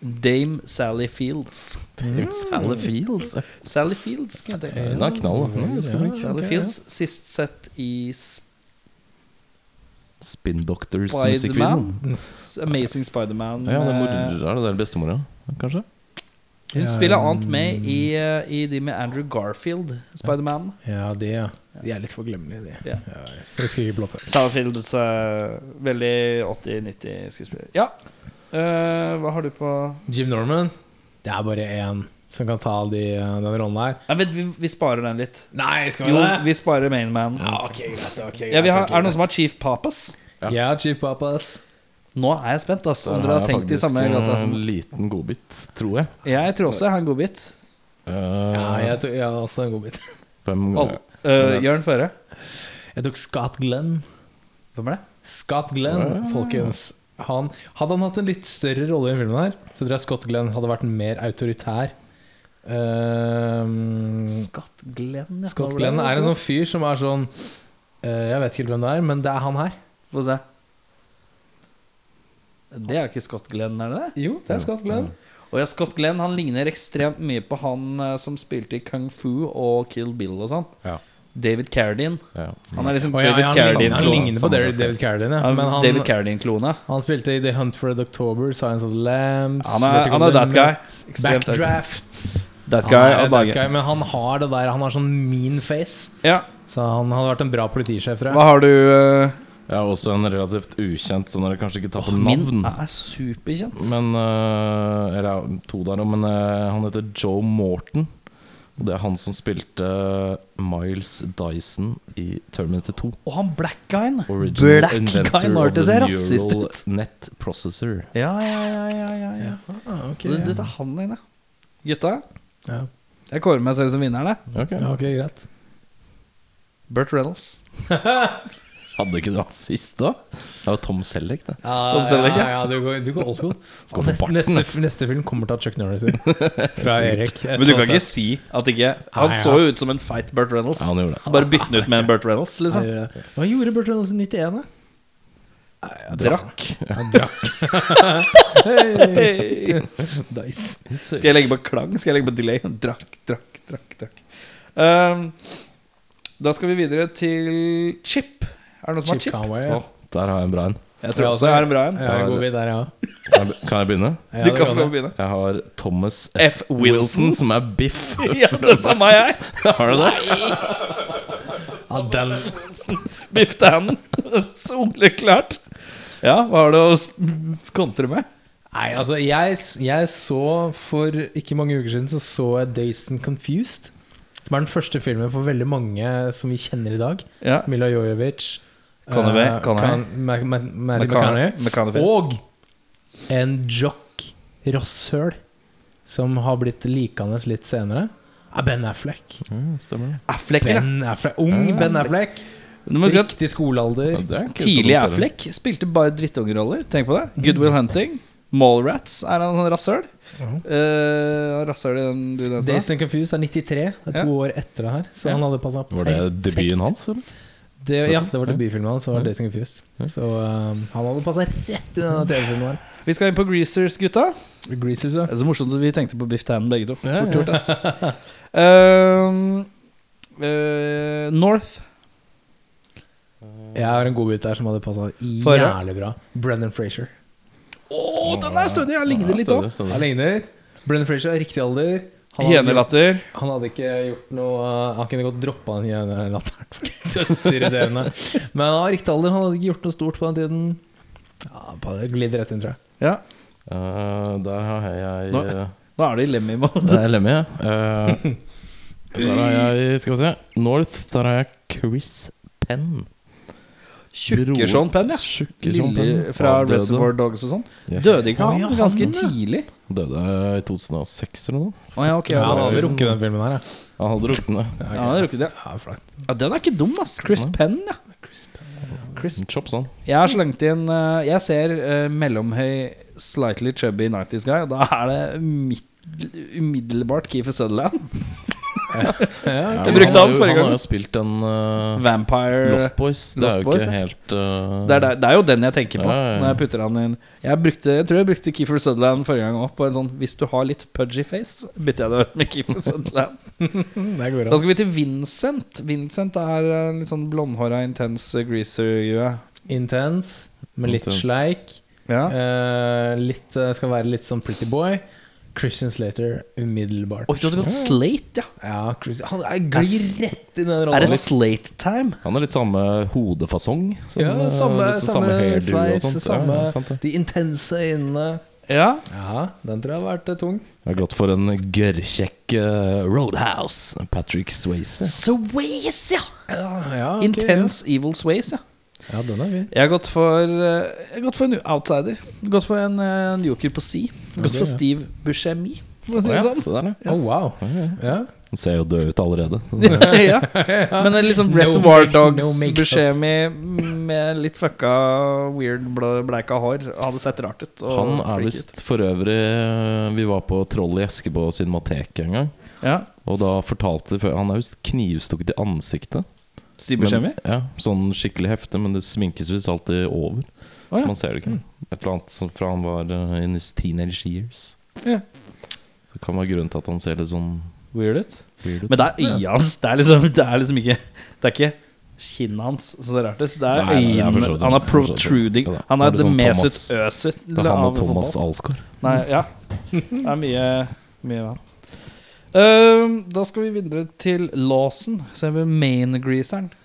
Dame Sally Fields. Mm.
Sally Fields.
Sally Fields, kan jeg tenke meg.
Hun Eh, er knall, da. Hun er ganske
Ja.
flink.
Sally
Eh, ok,
Fields, sist sett i
Spin Doctors musikkvideo.
Spiderman. Amazing Spiderman.
Ja, det er,
eh,
mor, er det der bestemora, kanskje?
Hun
Ja,
spiller
um,
annet med i, eh, i de med Andrew Garfield, Spiderman.
Ja, de, ja. De er litt forglemmelige, de.
Ja.
Ja, jeg husker ikke blått.
Sutherland, eh, veldig 80-90-skuespiller. Ja. Eh, hva har du på
Jim Norman. Det er bare én som kan ta de, eh, den rollen der.
Nei, vent, vi, vi sparer den litt.
Nei, skal vi
Jo,
det?
vi sparer Mainman.
Ja, ok, greit. ok, greit
Ja, vi har,
ok,
er det noen
greit.
som har Chief Papas?
Ja.
Ja, Chief Papas.
Nå er jeg spent, ass. Om
Der
dere har
jeg
tenkt i
faktisk eh,
samme gata som
En liten godbit, tror jeg.
Jeg tror også jeg har en godbit.
Eh,
Ja, jeg, tok, jeg har også en godbit.
fem-
Al- eh, Jørn Føre.
Jeg tok Scott Glenn.
Hvem er det?
Scott Glenn, folkens. han, Hadde han hatt en litt større rolle i den filmen her, så tror jeg Scott Glenn hadde vært mer autoritær. Ehm,
Mm.
Scott Glenn, ja.
Scott Glenn er en sånn fyr som er sånn eh, Jeg vet ikke helt hvem det er, men det er han her.
Få se. Det er ikke Scott Glenn, er det det?
Jo, det er Scott Glenn.
Og ja, Scott Glenn han ligner ekstremt mye på han eh, som spilte i Kung Fu og Kill Bill og sånn.
Ja.
David Carradine.
Ja.
Han er liksom
Å, ja,
David
ja, han, ligner- han
Carradine-klone.
ligner på David, David Carradine, ja.
Han
Men
er
han,
David Carradine-klone.
han spilte i The Hunt for Red October, Science of the Lambs
Han er-
Vertigo
han er that
Amendment,
guy. Ekstremt that guy.
Backdraft.
That
Han
guy
er
av
that
dagen.
guy, men han har det der Han har sånn mean face.
Ja.
Så han hadde vært en bra politisjef, tror jeg.
Hva har du eh,
Jeg er også en relativt ukjent, så dere kanskje ikke tar på
Min
navn.
er superkjent.
Men øh, Eller ja, to der nå, men øh, han heter Joe Morton. Og det er han som spilte Miles Dyson i Terminator 2.
Og han black guyen.
Original
Black
inventor
guy, når
of
det
the
ser rasist
neural
ut.
Net processor.
Ja, ja, ja. ja, ja, ja.
Ah, ok.
Det, dette er han inne. Gutta,
ja.
jeg kårer meg selv som vinneren. jeg.
Ok.
Ja, ok, greit.
Burt Reynolds.
Hadde ikke du hatt sist, da? Det er jo Tom Selleck, det.
Tom Selleck, ja.
ja, ja, du går, du går old school.
Går for
Neste,
barten,
neste,
da.
neste film kommer til å ha Chuck Norris i. Fra Erik.
Men du kan ikke si at ikke Han
Nei, ja.
så jo ut som en feit Burt Reynolds.
Ja, han gjorde
Så
det.
bare bytte den ut med en Burt Reynolds, liksom.
Hva gjorde Burt Reynolds i 91, da?
Drakk.
Hey.
Hey.
Dice.
Skal jeg legge på klang? Skal jeg legge på delay? Drakk, drakk, drakk. drakk Ehm, Da skal vi videre til Chip. Er det noen som har
Chip
Chip?
Conway, ja.
Å,
Der har jeg en bra en.
Jeg tror også jeg har en bra en.
Ja, god vi der, ja.
Kan jeg be- kan jeg begynne?
ja
Du
det
kan
går
få lov å
det.
begynne.
Jeg har Thomas
F. Wilson.
som er biff.
Ja, det samme har jeg.
har du det?
Ja, den
Biff Tannen. Soleklart. Ja, hva har du å s- kontre med?
Nei, altså jeg, jeg så for ikke mange uker siden Så så jeg Dazed and Confused Som er den første filmen for veldig mange Som vi kjenner i dag
Ja.
Mila Jojovic
Connery,
eh,
Connery.
Con- Ma- Ma- Matthew
McConaughey. McConaughey.
McConaughey, Og en jock Rasshøl Som har blitt likandes litt senere Er Ben Affleck
Stemmer det.
Affleck, ja.
Ben Affleck, Ung Ben Affleck
Du må huske at
Riktig skolealder
Ja, det er ikke så
Tidlig
dumt, eller?
Affleck spilte bare drittungeroller. Tenk på det. Good Will Hunting. Mallrats er han sånn rasshøl.
Ja.
Eh, rasshøl i den du nevnte.
Dazed and Confused er 93 Det er to år etter det her Så
Ja.
han hadde passet
Var det
perfekt.
debuten hans, eller?
Det, ja, det var
Ja.
debutfilmen hans. Så var Dazed and Confused. Så um, han hadde passa rett i denne TV-filmen her.
Vi skal inn på Greasers, gutta.
Greasers, ja.
Det er så morsomt at vi tenkte på Biff Tannen begge to.
Ja,
Fort gjort, ass. Ehm, eh, North.
Jeg har en godbit der som hadde passa
Fare.
jævlig bra. Brendan Frazier.
Å, den er stødig! Jeg ligner litt òg.
Stemmer,
Han
stemmer.
ligner. Brendan Frazier er riktig alder. Han hadde, gjort-
Hyenelatter.
han hadde ikke gjort noe uh, Han kunne godt droppa den hjenelatteren. Dødsirriterende. Men han var riktig alder. Han hadde ikke gjort noe stort på den tiden. Ja, bare Glidd rett inn, tror jeg.
Ja.
Eh, der har jeg
Nå-
eh,
Nå er det i Lemmy-mode.
Det er Lemmy, ja. Eh, der har jeg Skal vi se. North. Der har jeg Chris Penn.
Tjukke Sean Penn, ja.
Tjukke Sean
Lille
Penn.
fra
Avdøde.
Reservoir Dogs og sånn.
Yes.
Døde ikke
Å, ja,
han ganske
han, ja.
tidlig?
Døde i 2006 eller noe.
Å ja, ok.
Ja,
Ja,
han
det
hadde
var-
rukket den filmen her, ja.
Han hadde ruknet det.
ja, han rukket det.
ja flott.
Ja, den er ikke dum, ass. Chris
Nei.
Penn, ja.
Chris Chops, han.
Jeg har slengt inn eh, Jeg ser eh, mellomhøy, slightly chubby 90's guy, og da er det umid- umiddelbart Keefer Sutherland.
Ja,
det
men
brukte
har
han
jo-
forrige
Han har
gang.
jo spilt en eh,
Vampire
Lost Boys. Det
Lost
er jo
Boys, ja.
ikke helt eh,
det er, der- det er jo den jeg tenker på
Ja, ja, ja.
når jeg putter han inn. Jeg, brukte, jeg tror jeg brukte Keefer Sutherland forrige gang òg, på en sånn hvis du har litt pudgy face, bytter jeg det ut med Keefer Sutherland.
Mm, Det går
Da
bra.
skal vi til Vincent. Vincent er eh, litt sånn blondhåra, intens eh, greaser-gjue.
Intens, men litt
Intens.
sleik.
Ja.
Eh, litt, eh, skal være litt sånn pretty boy. Christian Slater umiddelbart.
Oi, du hadde gått slate, ja.
Ja, Christian, han er glir rett i den rollen.
Er det
Litt-
slate time?
Han har litt samme hodefasong. som,
Ja,
eh,
samme,
så
samme,
hairdo og
sveis,
sånt.
samme
Ja, ja, sant det.
De intense øynene.
Ja.
Ja, den tror jeg har vært eh, tung.
Jeg har gått for en gørrkjekk eh, Roadhouse. Patrick Swayze.
Sways, ja!
Ja, ja, ok,
Intense Evil Sways, ja.
Ja. ja, den er fin.
Jeg har gått for, eh, jeg har gått for en outsider. Gått for en, eh, en joker på si. Gått
det
for
er-
Steve Buscemi, for å si
Å,
det
ja,
sånn.
se der, ja.
Oh, wow. Ja.
Han ser jo død ut allerede.
ja. Men det er liksom
No
Reservoir
make- no
Dogs,
makeup.
Buscemi mm, med litt fucka, weird, bla- bleika hår hadde sett rart ut. og
Han er
freaky ut.
visst for øvrig eh, Vi var på Troll i Eske på Cinemateket en gang.
Ja.
Og da fortalte de før- Han er visst knivstukket i ansiktet.
Sibukjemi?
Men- Ja, sånn skikkelig hefte, men det sminkes visst alltid over.
Å ja. Mm.
Man ser det ikke. Et eller annet som fra han var eh, in his teenage years.
Ja.
Så det kan være grunnen til at han ser litt sånn
Weird ut.
weird ut.
Men det er øya hans. Det er liksom, det er liksom ikke Det er ikke kinnet hans som ser rart ut. Det er
Nei, nei, det er for så
øynene
vidt
Han er
sant, for så vidt sant.
protruding.
Ja da.
Han
Det
er
er
det
sånn
Mesut
Thomas-
Øzil
det er han og
av
Thomas
fotball.
Alsgaard.
Nei, ja. Det er mye Mye vann. Ehm, da skal vi videre til Lawson, selve main-greaseren.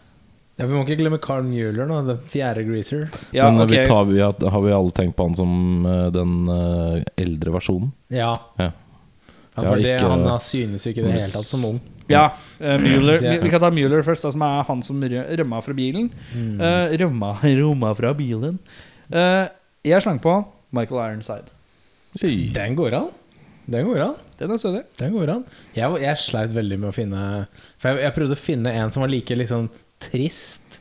Ja, Vi må ikke glemme Carl Mueller, nå, den fjerde greaser.
Ja,
men eh,
ok.
vi tar, vi, har- har vi alle tenkt på han som eh, den eh, eldre versjonen?
Ja.
Ja.
Han,
Ja,
for det,
ikke-
han har synes jo ikke i det hele tatt som ung.
Ja, eh, Mueller.
Ja.
Vi, vi kan ta Mueller først, da, som er han som rø- rømma fra bilen.
Mm.
Eh, rømma, rømma fra bilen. Eh, jeg slang på Michael Ironside.
Eh, Den går an. Den går an.
Den er stødig.
Den går an. Jeg, var- jeg sleit veldig med å finne For jeg, jeg prøvde å finne en som var like liksom trist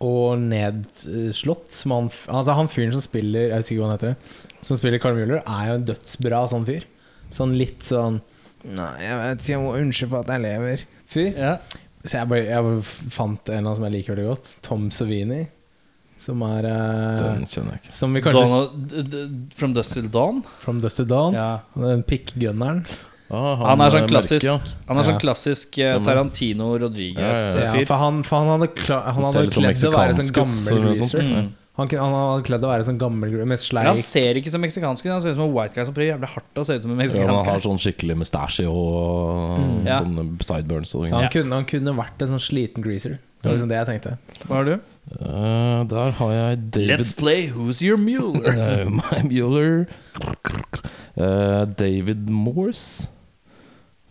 og nedslått som han f- Altså han fyren som spiller Jeg husker ikke hva han heter. Som spiller Carl Mueller, er jo en dødsbra sånn fyr. Sånn litt sånn Nei, jeg vet ikke, jeg må unnskylde for at jeg lever. Fyr.
Ja.
Så jeg, bare, jeg bare fant en eller annen som jeg liker veldig godt. Tom Savini. Som er eh,
Den kjenner jeg ikke.
Som vi kanskje
Donald, d, d, from Dust Till Dawn.
From Dust to Dawn.
Ja.
Den pikkgunneren.
Ah,
Han er sånn
eh,
klassisk,
merker, ja.
han er
Ja.
sånn klassisk eh,
Stemmer.
Tarantino
Ja,
Ja,
Rodriguez-fyr.
for han, for han hadde, kla- han
Ser
hadde
litt sånn
kledd å være sånn
meksikansk ut, så-
gammel
eller sånt.
greaser.
Mm.
Han, kunne- han hadde kledd å være sånn gammel greaser med
Men han
sleik.
ser ikke så meksikansk ut. Han ser ut som en white guy som prøver jævlig hardt å se ut som en
Ja, han
meksikansk.
har
guy.
sånn skikkelig mustasje og
Mm. Ja.
sånne sideburns og
Så han,
greier.
kunne, han kunne vært en sånn sliten greaser.
Mm.
Det var liksom det jeg tenkte.
Hva har du?
Eh, der har jeg sånn David
Let's play Who's Your Mueller?
Eh, My Mueller. Eh, David Morse.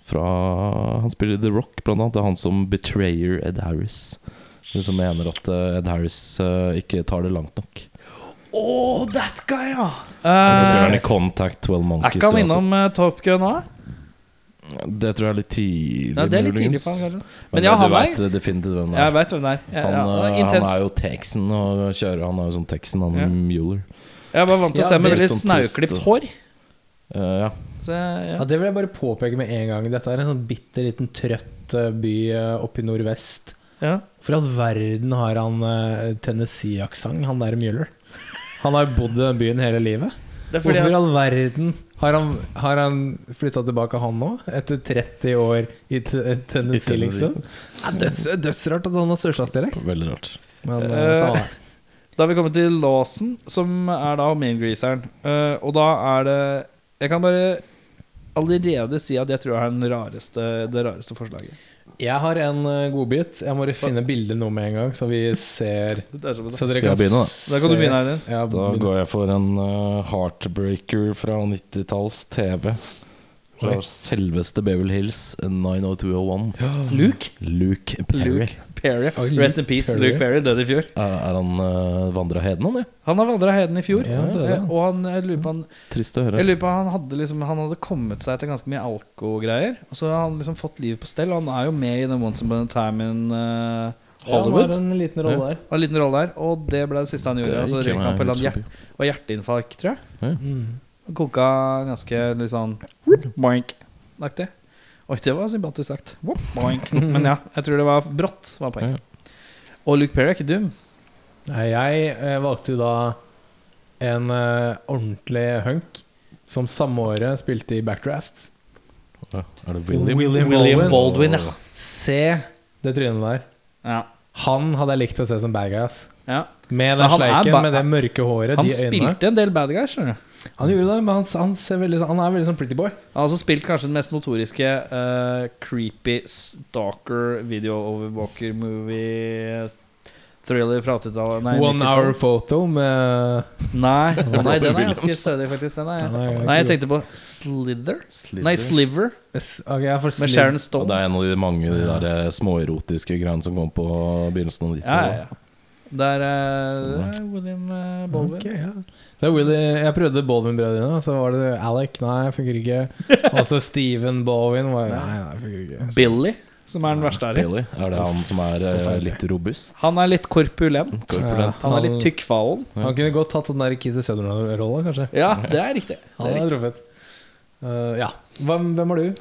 Fra, han spiller i The Rock, blant annet. Det er han som betrayer Ed Harris. De som mener at eh, Ed Harris eh, ikke tar det langt nok.
Oh, that guy, ja!
Og så spiller
Eh,
han i Contact 12
er
Monkeys.
ikke han
tror jeg,
innom eh, Top Gun òg?
altså. Det tror jeg er litt tidlig,
Ja, det er litt tidlig
muligens.
på han, kanskje.
Men,
Men ja,
du
han er-
vet definitivt hvem det
Jeg
er.
veit hvem det er. Jeg,
Han,
ja, han
eh,
er
han
intens.
er jo Texan og kjører. Han er jo sånn Texan, han
Ja.
Mueller.
Jeg var vant til å
Ja,
se med
det er
litt
litt sånn
snauklipt
trist.
hår.
Eh, ja.
Så, jeg-
Ja,
ja.
det vil jeg bare påpeke med en gang. Dette er en sånn bitte liten trøtt eh, by eh, oppe i nordvest.
Ja.
For all verden har han eh, Tennessee-aksent, han der Mueller. Han har jo bodd i den byen hele livet.
Det er fordi
Hvorfor i
han,
all verden har han, har han flytta tilbake, han nå? Etter 30 år i T- eh,
I
Tennessee,
Tennessee.
liksom? Ja, døds, dødsrart at han har sørstatsdialekt.
Veldig rart.
Men
Eh,
eh, samme det.
da har vi kommet til Lawson, som er da maingreaseren. Uh, og da er det Jeg kan bare allerede si at jeg tror jeg har den rareste, det rareste forslaget.
Jeg har en eh, godbit. Jeg må bare finne bildet nå med en gang, så vi ser
Det er som
Så
det.
Skal
dere
jeg begynne, da?
se-
Da kan du begynne, Eivind.
Ja,
Da
begynn.
går jeg for en eh, heartbreaker fra 90-talls TV. Fra
Oi.
selveste Beverly Hills 90201.
Luke
Luke Perry.
Perry.
Oi,
Rest in peace,
Perry.
Luke Perry. Døde i fjor.
Er, er han uh, vandra heden, han? Ja?
Han har vandra heden i fjor.
Ja, det er det.
eh, Og han, jeg lurer på han
Trist å høre.
Jeg lurer på Han hadde liksom Han hadde kommet seg etter ganske mye alko-greier. Og så har han liksom fått livet på stell. Og han er jo med i den Once upon a time in eh, Hollywood.
Ja, han har en liten rolle der.
Han har en liten rolle der, og det ble det siste han gjorde.
Det
Og så
gikk
røyk
meg
han på en
litt
eller annen hjert, og hjerteinfarkt, tror jeg.
Mm.
Og koka ganske litt sånn boink-aktig. Oi, det var sympatisk sagt. Whoop, Boink. Men ja, jeg tror det var brått. var poenget Og Luke Perry er ikke dum.
Nei, jeg eh, valgte jo da en eh, ordentlig hunk som samme året spilte i backdraft.
Ja, er det William?
William Baldwin, ja.
Se det trynet der.
ja.
Han hadde jeg likt å se som bad guy. ass.
ja.
Med
Men
den
han er
sleiken,
ba-
med det mørke håret,
Han
de øynene.
spilte en del bad guys, skjønner du.
Han gjorde det, men han, han, ser veldig, sånn- han er veldig sånn pretty boy.
Han har også spilt kanskje den mest notoriske eh, creepy stalker video-overwalker-movie-thriller fra 80-tallet. Nei,
One
90-tallet.
hour photo med
Nei, nei den er ganske
Williams.
stødig, faktisk. Den er,
Den er ganske
nei, jeg
god.
tenkte på Slither.
Slither.
Nei, Sliver
S- Ok, jeg får
med
slim-
Sharon
Og det
Stone.
er en av de mange de der eh, småerotiske greiene som kom på begynnelsen av 90-tallet.
Ja, ja, ja. Der er
Sånn,
eh, William eh, Baldwin.
Ok, ja. Det er Willy, jeg prøvde Baldwin-brødrene, så var det Alec. Nei, funker ikke. Og så Steven Baldwin. Var, nei, nei, funker ikke.
Billy, som er den verste her. i.
Bailey. Er det han som er eh, litt robust?
Han er litt korpulent.
Korpulent.
Han er litt tykkfallen.
Han kunne godt tatt den der Kizzy Sutherland-rolla, kanskje.
Ja, det er riktig.
Han hadde truffet. Eh, ja. Hvem, hvem er du?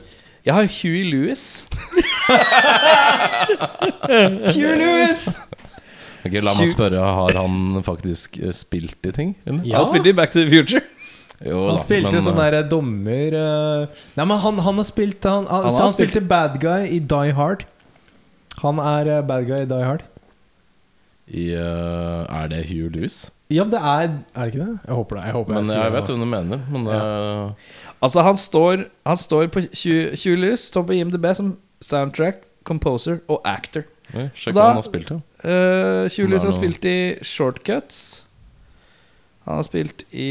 Jeg har Huey Lewis.
Hugh Lewis!
Ok, la meg spørre, har han faktisk eh, spilt i ting? Eller?
Ja.
Han spilte i Back to the Future.
Jo,
Han
da,
spilte
men,
sånn
eh,
derre dommer eh, Nei, men han, han har spilt Han, han,
Han
så
har
han spilte bad guy i Die Hard. Han er eh, bad guy i Die Hard.
i, eh, Er det Hugh Lewis?
Ja, det er Er det ikke det? Jeg håper det. Jeg, håper
Men
sier
jeg
det.
vet hvem du mener. Men eh,
Altså, han står, han står på Hugh Hugh Lewis, står på IMDb som soundtrack, composer og actor.
oi, sjekk
Da-
hva han har spilt i.
Uh, Hugh Lewis har
Nei, nå-
spilt i Shortcuts. Han har spilt i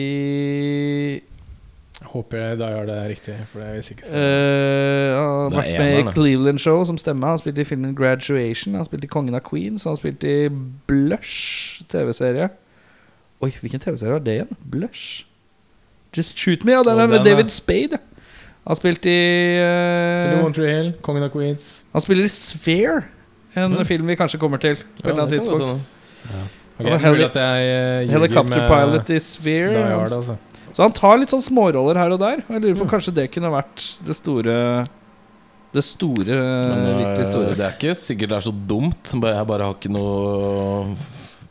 Jeg håper jeg Die Hard er riktig, for det er sånn. jeg sikker
eh, Han har
Det er
vært med
eneren,
i
det.
Cleveland Show som stemme. Han har spilt i filmen Graduation. Han har spilt i Kongen av Queens. Han har spilt i Blush TV-serie. Oi, hvilken TV-serie var det igjen? Blush? Just Shoot Me? Ja, den
Og
er med
den er-
David Spade. ja. Han har spilt i eh,
Spiller Montreal, Kongen av Queens.
Han spiller i Sphere, en
Mm.
film vi kanskje kommer til. På et eller annet
det kan godt
tidspunkt
hende.
Ok,
Og
det er
heli-
mulig at jeg eh, ljuger med
Helikopterpilot i
Die
Sphere.
Hard,
han-
altså.
Så han tar litt sånn småroller her og der. Og jeg lurer på Kanskje det kunne vært det store Det store
Men, eh,
virkelig store.
Det er ikke sikkert det er så dumt. bare- Jeg bare har ikke noe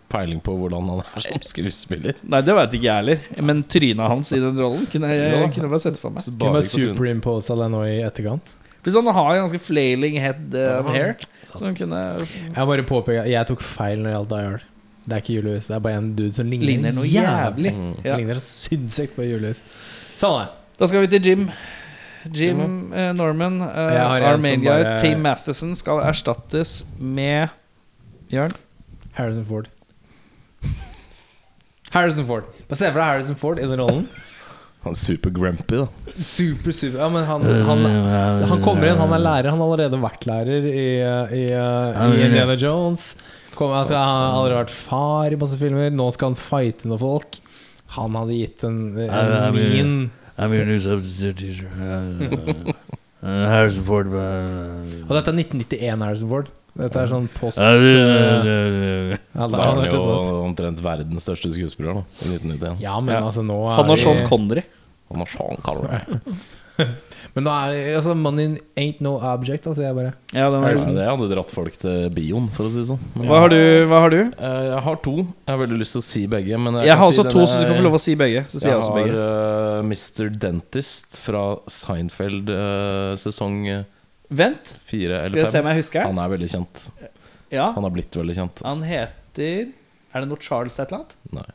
peiling på hvordan han er som skuespiller.
Nei, det veit ikke jeg heller. Men trynet hans i den rollen kunne jeg kunne jeg bare sette for meg.
Så
Kunne
bare
bare
ikke på
superimposa den nå i etterkant.
Pluss han har jo ganske flailing head eh, of hair.
Sant.
Som kunne
Jeg bare påpeker at jeg tok feil når det gjaldt Die Hard. Det er ikke Julius, det er bare en dude som ligner,
ligner noe jævlig.
Mm.
Ja.
Ligner så sinnssykt på Julius. Sånn er det.
Da skal vi til Jim. Jim eh, Norman, eh,
Jeg har en som
Armania,
bare-
Team Matheson skal erstattes med Jørn?
Harrison Ford. Harrison Ford. Bare se for deg Harrison Ford i den rollen.
Han er super grumpy, da.
Super, super Ja, men han, han, han kommer inn, han er lærer. Han har allerede vært lærer i, uh, i, uh, i Indiana Jones. Kom, altså, han har allerede vært far i masse filmer. Nå skal han fighte noen folk. Han hadde gitt en,
Nei,
en
det er mye.
min
I'm your new substitute teacher. Uh, uh, Harrison Ford. Uh,
Og dette er 1991 Harrison Ford. Dette er sånn post
uh,
uh,
uh,
ja,
uh,
Da
da, han
er han
hørtes sånn ut.
jo omtrent verdens største skuespiller da, i 1991.
ja, men
Ja.
altså nå er
Han og
vi-
Sean Connery.
Han har Sean Connery.
Men nå er altså, Money ain't no object, altså. Jeg bare
Ja, den
Ja,
er
det hadde dratt folk til bioen, for å si det sånn. Men,
Hva har du? Hva har du?
eh, jeg har to. Jeg har veldig lyst til å si begge. Men jeg,
Jeg har også to, så du kan få lov å si begge. Så sier jeg også
har
begge.
eh, Mr. Dentist fra Seinfeld eh, sesong eh,
Vent,
fire
skal
eller
jeg se
fem.
om jeg husker.
Han er veldig kjent.
Ja,
Han har blitt veldig kjent.
han heter Er det noe Charles et eller annet?
Nei.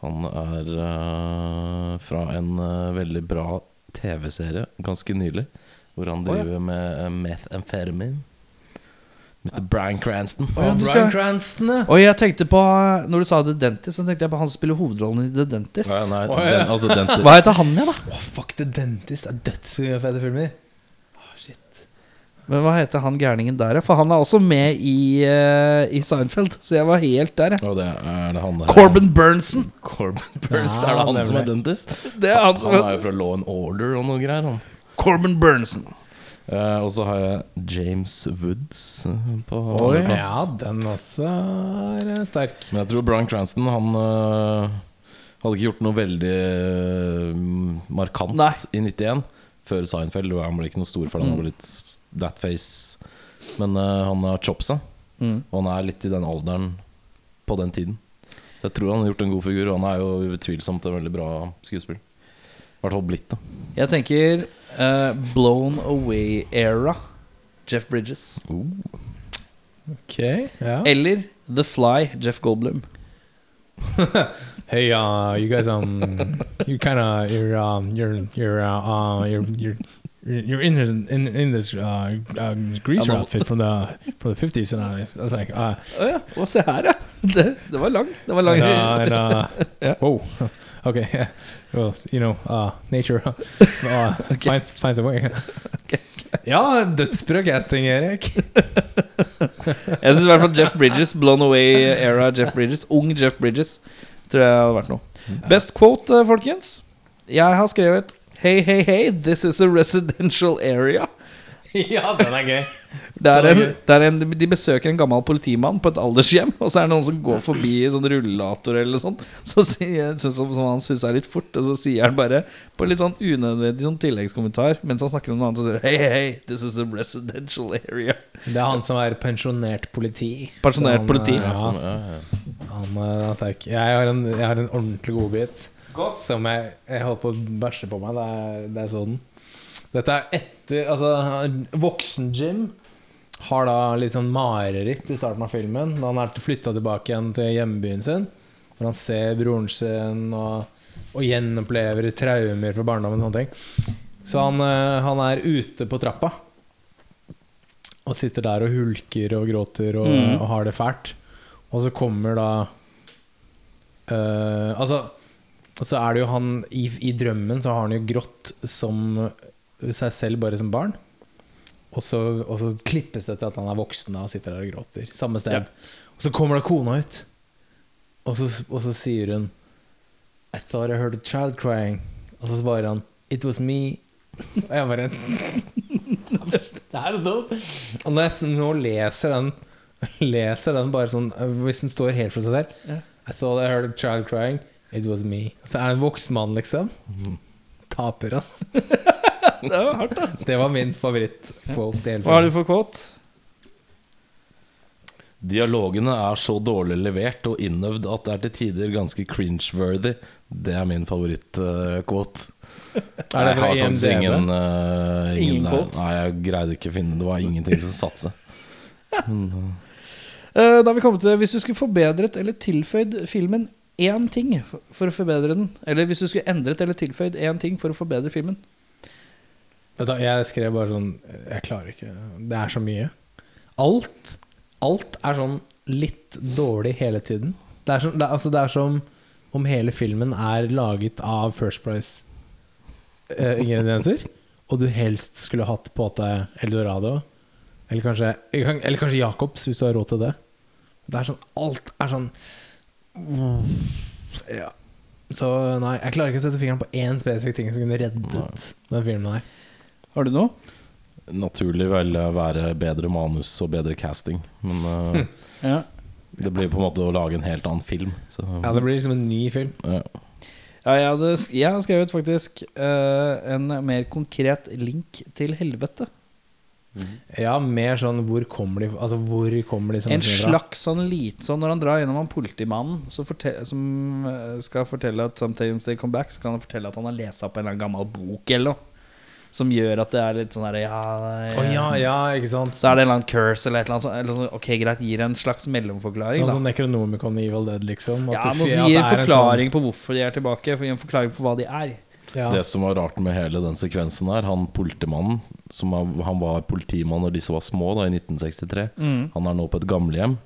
Han er eh, fra en eh, veldig bra TV-serie ganske nylig, hvor
Å,
han
ja.
driver med uh, methamphetamine. Mr. Brian Cranston.
Å, ja, du skal-
Bryan Cranston, ja.
Og jeg tenkte på eh, Når du sa The Dentist, så tenkte jeg på han som spiller hovedrollen i The Dentist.
Nei, nei,
Å, ja.
den, altså dentist.
Hva heter han igjen, da?
Åh, fuck The Dentist. Det er dødsfete filmer. Åh, shit.
Men hva heter han gærningen der, ja? For han er også med i, eh, i Seinfeld, så jeg var helt der, jeg.
Å, det er det han der
Corbin Burnson!
Corbin Burns,
Ja,
er det han
nemlig.
som er dentist?
Det er han som
Han er jo fra Law and Order og noe greier. Han.
Corbin Burnson.
Eh, og så har jeg James Woods eh, på
Oi.
andreplass.
Ja, den også er eh, sterk.
Men jeg tror Brian Cranston Han øh, hadde ikke gjort noe veldig øh, markant
Nei.
i 91 før Seinfeld. og Han ble ikke noe stor for det, han ble litt that face. Men øh, han har chopsa,
Mm.
og han er litt i den alderen på den tiden. Så jeg tror han har gjort en god figur, og han er jo utvilsomt en veldig bra skuespiller. I hvert fall blitt, da.
Jeg tenker eh, Blown Away-era. Jeff Bridges.
Ok, ja.
Eller The Fly. Jeff Goldblum.
Hey, uh, you guys, um, you kind of, you're, um, you're, you're, uh, uh, you're, you're, you're in this, in, in this uh, uh, greaser
I'm all-
outfit from the from the 50s, and I, I was like, uh,
Å ja. Å, se her, ja. Det, det var lang. Det var lang.
and, uh, and uh,
Yeah.
whoa, okay, yeah. well, you know, uh, nature uh, finds finds a way. Ja, dødsbra casting, Erik.
Jeg syns i hvert fall Jeff Bridges, Blown Away Era Jeff Bridges, ung Jeff Bridges, tror jeg hadde vært noe. Best quote, eh, folkens. Jeg har skrevet Hei, hei, hei, this is a residential area.
ja, den er gøy.
Det er en, det er en, de besøker en gammel politimann på et aldershjem, og så er det noen som går forbi i sånn rullator eller sånn, så sier, synes, som, som han syns er litt fort, og så sier han bare på litt sånn unødvendig sånn tilleggskommentar mens han snakker om noe annet, så sier han, Hei, hei, this is a residential area.
Det er han som er pensjonert politi.
Pensjonert
Så han,
politi.
eh,
Ja,
Som,
Ja,
ja, ja.
han eh, er sterk. Jeg har en, jeg har en ordentlig godbit som jeg, jeg holdt på å bæsje på meg da jeg, da jeg så den. sånn. Dette er etter Altså, voksen-Jim har da litt sånn mareritt i starten av filmen. Da han er flytta tilbake igjen til hjembyen sin. Hvor han ser broren sin og, og gjenopplever traumer fra barndommen og sånne ting. Så han, eh, han er ute på trappa. Og sitter der og hulker og gråter og,
Mm.
og har det fælt. Og så kommer da eh, Altså, og så er det jo han i, I drømmen så har han jo grått som seg selv, bare som barn. Og så, og så klippes det til at han er voksen da, og sitter der og gråter. Samme sted.
Ja.
Og så kommer da kona ut, og så, og så sier hun I thought I heard a child crying. Og så svarer han It was me. Og jeg bare Det er så dumt. Og når jeg s- nå leser den Leser den bare sånn Hvis den står helt for seg selv
Ja.
I thought I heard a child crying. It was me. Så er det en voksen mann, liksom.
Mhm.
Taper, ass.
Det var hardt, da.
Det var min favoritt-quote. i hele
Hva har
filmen.
du for quote?
Dialogene er så dårlig levert og innøvd at det er til tider ganske cringe-worthy. Det er min favoritt-quote.
Er
jeg
det fra E
har faktisk
IMDb?
ingen, eh, ingen,
Ingen
der.
quote?
Nei, jeg greide ikke å finne Det var ingenting som satte seg.
Eh, Da har vi kommet til Hvis du skulle forbedret eller tilføyd filmen én ting for- for å forbedre den Eller hvis du skulle endret eller tilføyd én ting for å forbedre filmen
Vet du, hva, jeg skrev bare sånn Jeg klarer ikke. Det er så mye. Alt Alt er sånn litt dårlig hele tiden. Det er, sånn- det, er- altså det er som om hele filmen er laget av First Price-ingredienser, og du helst skulle hatt på deg Eldorado, eller kanskje, eller kanskje Jacobs, hvis du har råd til det. Det er sånn Alt er sånn Ja. Så nei, jeg klarer ikke å sette fingeren på én spesifikk ting som kunne reddet den filmen her.
Har du noe?
Naturlig ville være bedre manus og bedre casting, men eh,
Ja
det blir på en måte å lage en helt annen film. Så,
Ja, det blir liksom en ny film.
ja.
Ja, jeg, hadde, sk- jeg har skrevet faktisk eh, en mer konkret link til helvete.
Ja, mer sånn hvor kommer de Altså, hvor kommer de som
En
filmer fra?
slags sånn lite sånn Når han drar gjennom han politimannen så fortel- som eh, skal fortelle at sometimes they come back, så kan han fortelle at han har lest opp en eller annen gammel bok eller noe. Som gjør at det er litt sånn her ja,
Å ja, ja, ikke sant?
Så er det en eller annen curse eller et eller annet sånt. Eller sånn, ok, greit, gir en slags mellomforklaring.
Sånn
Da.
som Necronomicon i Evil Dead, liksom.
Ja,
du
men
fi-
også
at
gir en sånn-
det er en
forklaring på hvorfor de er tilbake. For en forklaring på hva de er.
Sånn, ja.
Det som var rart med hele den sekvensen her, han politimannen som var- Han var politimann når disse var små, da, i 1963.
Mm.
Han er nå på et gamlehjem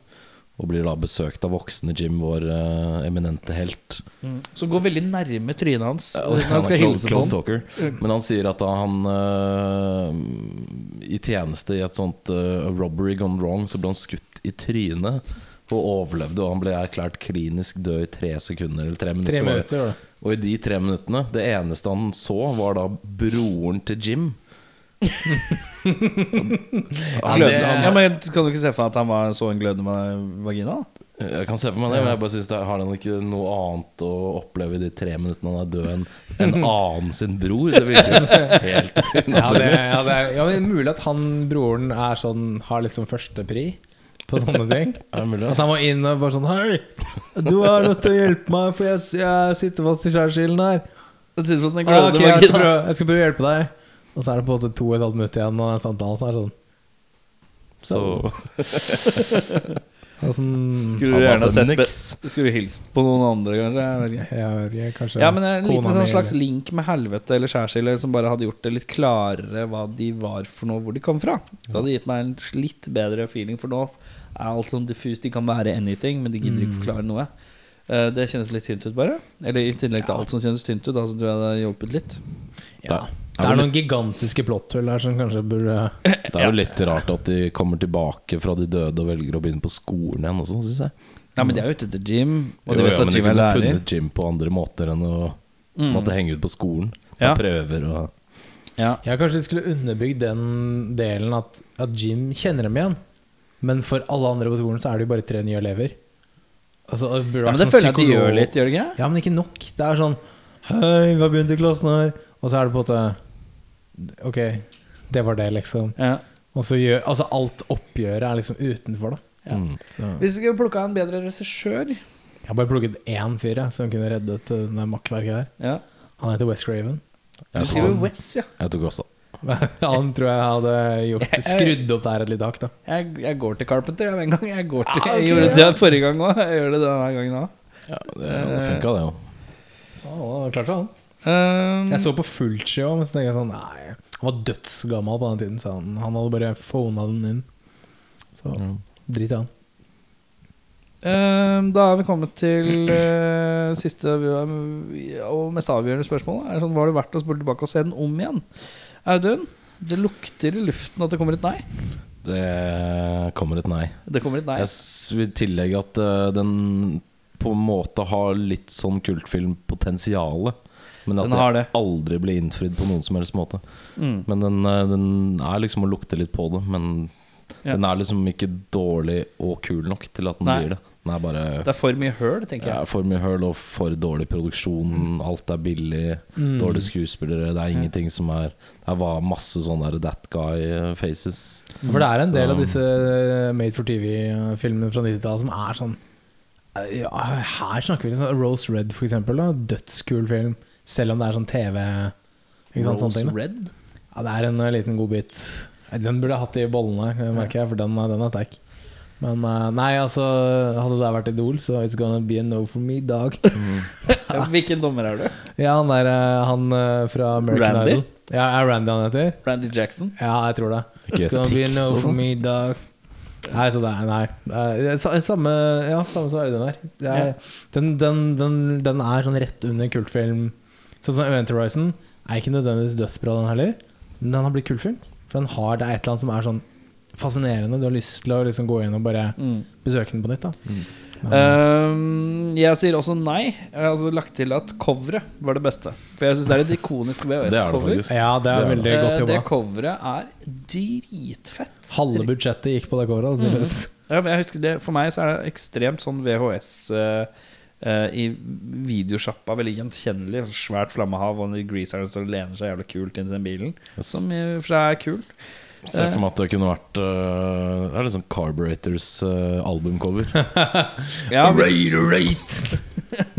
og blir da besøkt av voksne Jim, vår eh, eminente helt.
Som går Mm. veldig nærme trynet hans
Ja,
når han skal
close-
hilse på ham.
close talker. Men han sier at da han eh, i tjeneste i et sånt eh, robbery gone wrong, så ble han skutt i trynet. Og overlevde, og han ble erklært klinisk død i tre sekunder eller tre minutter.
Tre
var det.
minutter, var det.
Og i de tre minuttene, det eneste han så, var da broren til Jim.
Han
han,
glødde,
han,
ja, men Kan du ikke se for deg at han var så en glødende va- vagina? da?
Jeg kan se for meg det, men jeg bare synes det har han ikke noe annet å oppleve i de tre minuttene han er død enn en annen sin bror? Det virker helt
Ja, det,
unaturlig.
ja, det, er- ja, men mulig at han broren er sånn har liksom førstepri på sånne ting.
Er det mulig,
At
ass?
han var inn og bare sånn Hei, du er nødt til å hjelpe meg, for jeg, jeg sitter fast i skjærsilden her.
Det tyder på sånn en
Ah,
glødende
ok, jeg, skal
vagina.
prøve, jeg skal prøve å hjelpe deg. Og så er det på en måte to og et halvt minutt igjen av samtalen. Så er det sånn,
Så
og sånn
Skulle du
Han
gjerne
hadde
ha sett
niks.
be- Skulle du hilst på noen andre, kanskje? Jeg vet ikke.
Jeg vet ikke, kanskje
Ja, men En
kona
liten sånn
mi
slags
eller-
link med helvete eller skjærsilde som bare hadde gjort det litt klarere hva de var for noe, hvor de kom fra. Det hadde gitt meg en litt bedre feeling, for nå er alt sånn diffust. De kan være anything, men de gidder
Mm.
ikke forklare noe. Eh, Det kjennes litt tynt ut, bare. Eller i tillegg til alt som kjennes tynt ut, da, så tror jeg det har hjulpet litt.
ja. Det er noen gigantiske plotthull her som kanskje burde
Det er jo litt rart at de kommer tilbake fra de døde og velger å begynne på skolen igjen også, synes jeg.
Nei, men de er jo ute etter Jim, og de
Jo,
vet
ja, men
at Jim er
kunne
lærer. Mm.
funnet Jim på andre måter enn å måtte henge ut på skolen.
Ja.
Ta prøver og
Ja.
Jeg kanskje skulle underbygd den delen at, at Jim kjenner dem igjen. Men for alle andre på skolen så er det jo bare tre nye elever. Altså, det burde
Ja, men
vært
det
sånn
føler jeg at de
psykolog-
gjør litt, gjør de ikke?
Ja, men ikke nok. Det er sånn Hei, vi har begynt i klassen her. Og så er det på en måte Ok, det var det, liksom.
Ja.
Og så gjør Altså, alt oppgjøret er liksom utenfor, da.
Ja.
Mm.
Så.
Hvis vi skulle plukka en bedre regissør
Jeg har bare plukket én fyr jeg, som kunne reddet eh, det makkverket der.
ja.
Han heter Wes Craven.
Du
Jeg
skriver
tok,
Wes, ja.
jeg tok også.
Han tror jeg hadde gjort skrudd opp der et lite hakk, da.
Jeg, jeg går til Carpenter jeg, med en gang. Jeg, går til,
Ah, ok,
jeg gjorde
ja.
det forrige gang òg. Jeg gjør det denne gangen òg.
Ja, det det funka, det jo.
Ja, det var klart for han.
Um,
Jeg så på Fulci òg, men så tenkte jeg sånn Nei, han var dødsgammel på den tiden, så han, han hadde bare phona den inn. Så drit i han.
um, da er vi kommet til eh, siste eh, og mest avgjørende spørsmål. Er det sånn, var det verdt å spole tilbake og se den om igjen? Audun, det lukter i luften at det kommer et nei.
Det kommer et nei.
Det kommer et nei.
Jeg s- vil tillegge at eh, den på en måte har litt sånn kultfilmpotensial. Men at
Den har
det
det.
aldri ble innfridd på noen som helst måte.
Mm.
Men den, eh, den er liksom å lukte litt på det. Men
Ja.
den er liksom ikke dårlig og kul nok til at den
Nei.
blir det. Den er bare
Det er for mye høl, tenker
det
jeg.
er for mye høl og for dårlig produksjon. Alt er billig,
Mm.
dårlige skuespillere. Det er ingenting som er Det var masse sånne der that eh, guy-faces.
For det er en del av disse eh, Made for TV-filmene fra 90-tallet som er sånn ja, Her snakker vi liksom Rose Red, for eksempel. Da. Dødskul film. Selv om det er sånn TV ikke sant, sånne ting, da.
Red?
Ja, det er en eh, liten godbit. Den burde jeg hatt i bollene, eh, merker jeg, for den, eh, den er sterk. Men eh, nei, altså Hadde det vært Idol, så it's gonna be a no for me, dog.
Ja, hvilken dommer er du?
ja, han der eh, han eh, fra American
Randy?
Idol. Ja, er Randy han heter?
Randy Jackson?
Ja, jeg tror det.
Ikke
It's gonna be a
Tix
no
og
for
sånn?
me, dog. Nei, så det er Nei. Eh, sa- Samme, ja, samme som Audun her. Det er,
Ja.
den, den, den, den er sånn rett under kultfilm. Sånn som Event Horizon er ikke nødvendigvis dødsbra, den heller. Men den har blitt kultfilm. For den har det er et eller annet som er sånn fascinerende. Du har lyst til å liksom gå inn og bare
Mm.
besøke den på nytt. da
Um, jeg sier også nei. Jeg har altså lagt til at coveret var det beste. For jeg syns det er et ikonisk
Det er det
VHS-cover.
faktisk.
Ja, det er
Det
veldig godt
Eh, det
jobba.
coveret er dritfett.
Halve budsjettet gikk på det coveret. da, tydeligvis.
Ja, men jeg husker det, for meg så er det ekstremt sånn VHS eh, eh, i videosjappa. Veldig gjenkjennelig. Svært flammehav og en greaser som lener seg jævlig kult inn i den bilen.
Yes.
Som i og for seg er kult.
Ser for meg at det kunne vært eh, Det er liksom Carburetors eh, albumcover.
Ja, hvis,
Right,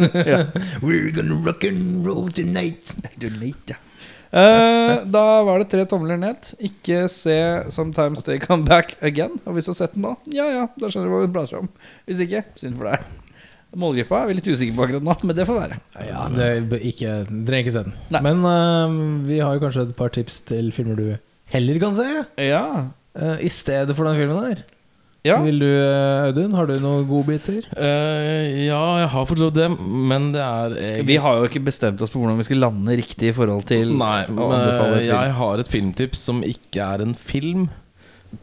right. We're gonna rock and roll tonight.
Du leit, ja. Eh, da var det tre tomler ned. Ikke se 'Sometimes They Come Back Again'. Og hvis du har sett den nå, ja ja, da skjønner du hva vi prater om. Hvis ikke, synd for deg. Målgruppa er vi litt usikre på akkurat nå, men det får være.
Ja, det bør ikke, du trenger ikke se den.
Nei.
Men eh, vi har jo kanskje et par tips til filmer du heller kan se.
Ja.
eh, I stedet for den filmen her.
ja.
Vil du, eh, Audun, har du noen godbiter?
Eh, ja, jeg har forstått det, men det er egentlig-
Vi har jo ikke bestemt oss på hvordan vi skal lande riktig i forhold til
Nei,
å anbefale
men eh,
et
jeg
film.
har et filmtips som ikke er en film,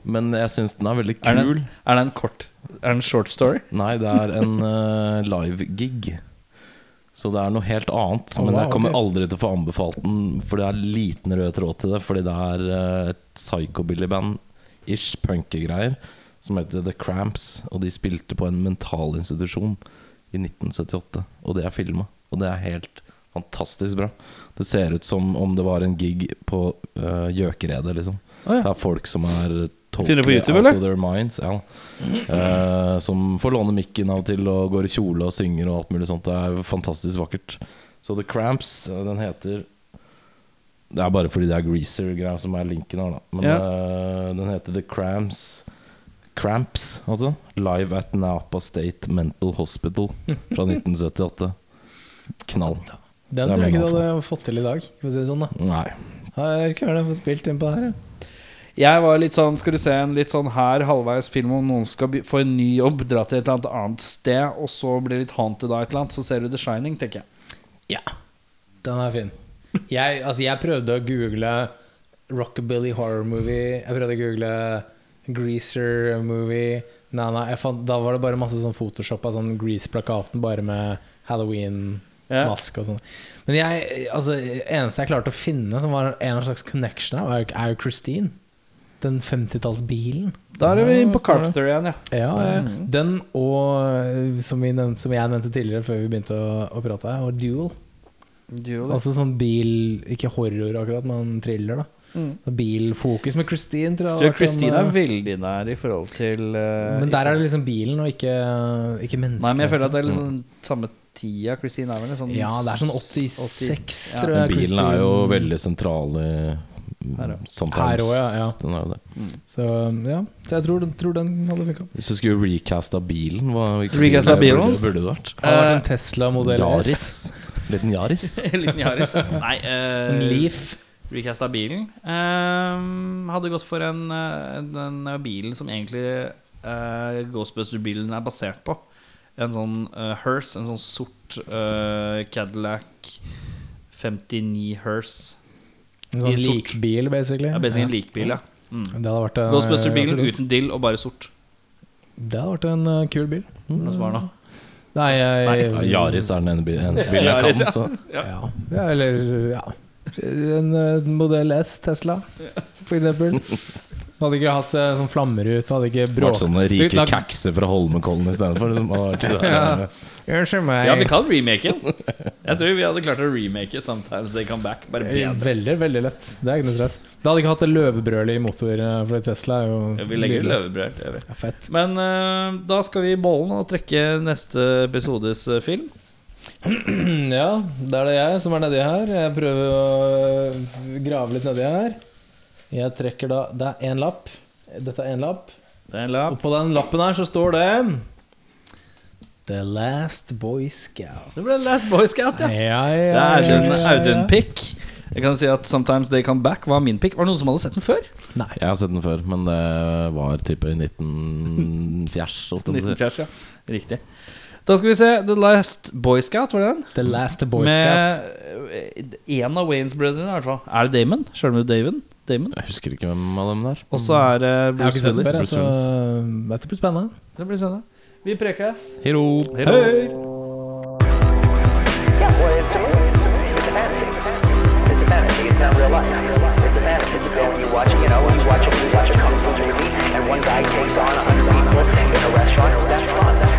men jeg syns den er veldig
Er det,
kul.
en, er det en kort Er det en short story?
Nei, det er en eh, live-gig. Så det er noe helt annet.
Å,
men
wow,
jeg kommer
ok.
aldri til å få anbefalt den, for det er liten rød tråd til det. Fordi det er eh, et psychobilly-band-ish punkegreier som heter The Cramps. Og de spilte på en mentalinstitusjon i 1978, og det er filma. Og det er helt fantastisk bra. Det ser ut som om det var en gig på eh, Gjøkeredet, liksom.
Å, ja.
Det er folk som er
Finner du på YouTube,
out
eller?
of their minds. Ja. Eh, som får låne mikken av og til og går i kjole og synger og alt mulig sånt. Det er fantastisk vakkert. Så The Cramps, eh, den heter Det er bare fordi det er Greaser-greia som er linken her, da. Men
Ja.
eh, den heter The Cramps. Cramps, altså. Live at Napa State Mental Hospital fra 1978. Knall.
Den
Det er
tror jeg ikke
min
du hadde fått til i dag. For å si det sånn da
Nei.
Jeg kunne fått spilt inn på det her. ja.
Jeg var litt sånn Skal du se en litt sånn her halvveis film om noen skal be- få en ny jobb, dra til et eller annet annet sted, og så bli litt haunted av et eller annet, så ser du The Shining, tenker jeg.
Ja, den er fin. Jeg, altså, jeg prøvde å google Rockabilly horror movie. Jeg prøvde å google Greaser movie. Nei, nei, jeg fant, da var det bare masse sånn Photoshop av sånn Grease-plakaten bare med Halloween
Ja.
Maske og sånn. Men jeg, altså, eneste jeg klarte å finne som var en eller annen slags connection her, var jo- er jo Christine. Den 50-tallsbilen.
Da er vi inne på
Ja, stemmer.
Carpenter igjen, ja.
Ja, ja. Den og, som, vi nevnte, som jeg nevnte tidligere, før vi begynte å, å prate, her, og Duel. Altså sånn bil Ikke horror akkurat, men thriller, da.
Mm.
Bilfokus med Christine, tror
Så
jeg. det
Christine
har
er
vært en, eh,
veldig nær i forhold til eh,
men der er det liksom bilen, og ikke, ikke mennesket.
Nei, men jeg føler at det er liksom samme tida. Christine er vel en sånn
Ja, det er sånn
80.
86,
ja.
tror
Men
jeg.
bilen
Christine-
er jo veldig sentral i mm,
Her, ja.
Sometimes.
Her også, ja, ja.
Den er jo det.
Så ja, så jeg tror, den- tror den hadde funka.
Hvis du skulle recasta bilen, hva hvilken
Recasta
bil
bilen?
burde- burde det vært?
Hadde vært
Eh,
en Tesla modell
Yaris.
S.
Liten Yaris.
En liten Yaris. Nei, eh,
En Leaf.
Recast av bilen. Ehm, hadde gått for en, eh, den eh, bilen som egentlig uh, Ghostbuster-bilen er basert på. En sånn eh, hearse, en sånn sort eh, Cadillac 59 hearse.
En
I
sånn
sort.
likbil, basically.
Det er basically en likbil, ja. Mm.
Det hadde vært en-
Ghostbuster-bilen
absolutt.
uten dill og bare sort.
Det hadde vært en eh, kul bil.
Noe som var nå.
Nei, jeg,
Ja, Yaris er den ene bi- eneste bilen jeg
Yaris, ja.
kan. Så.
Ja. ja, eller ja. En eh, modell S Tesla, for eksempel. Hadde ikke hatt eh, sånn flammerute, hadde ikke
Det har vært
sånn.
bråk...
sånne
Du, da-
rike kakser fra Holmenkollen istedenfor.
Ja. Unnskyld meg.
Ja, vi kan remake den. Jeg tror vi hadde klart å remake Sometimes They Come Back. Bare bedre.
Eh, Veldig, veldig lett. Det er ikke noe stress. Da hadde ikke hatt det løvebrølet i motor, eh, for Tesla er jo
Vi legger
lydløs.
løvebrød. det gjør vi.
Ja, fett.
Men eh, da skal vi i bollen og trekke neste episodes eh, film.
Ja, da er det jeg som er nedi her. Jeg prøver å eh, grave litt nedi her. Jeg trekker da Det er én lapp. Dette er én lapp.
Det er en lapp.
Og på den lappen her så står det The Last Boy Scout.
Det ble Last Boy Scout, ja.
Ja,
Det
ja,
er
ja,
Audun,
ja, ja.
Audun Pick. Jeg kan si at Sometimes They Come Back var min pick. Var det noen som hadde sett den før?
Jeg har sett den før, men det var type i 1904. holdt jeg på å si.
1940, ja. Riktig. Da skal vi se The Last Boy Scout, var det den?
The Last Boy Scout.
Med en av Waynes-brødrene, i hvert fall. Er det Damon? Sjøl med Damon? Damon.
Jeg husker ikke hvem av dem der.
Og så er det
Mm. Jeg har
Bruce
ikke sett den
Willis.
før,
Bruce
så dette blir spennende.
Det blir spennende. Vi prekes.
Hero.
Hei!
Yeah, well, it's a movie. It's a movie. It's a fantasy. It's a fantasy. It's not real life. It's a fantasy. You go and you watch, you know, you watch, you watch a kung fu movie, and one guy takes on a hundred people in a restaurant. That's fun. That's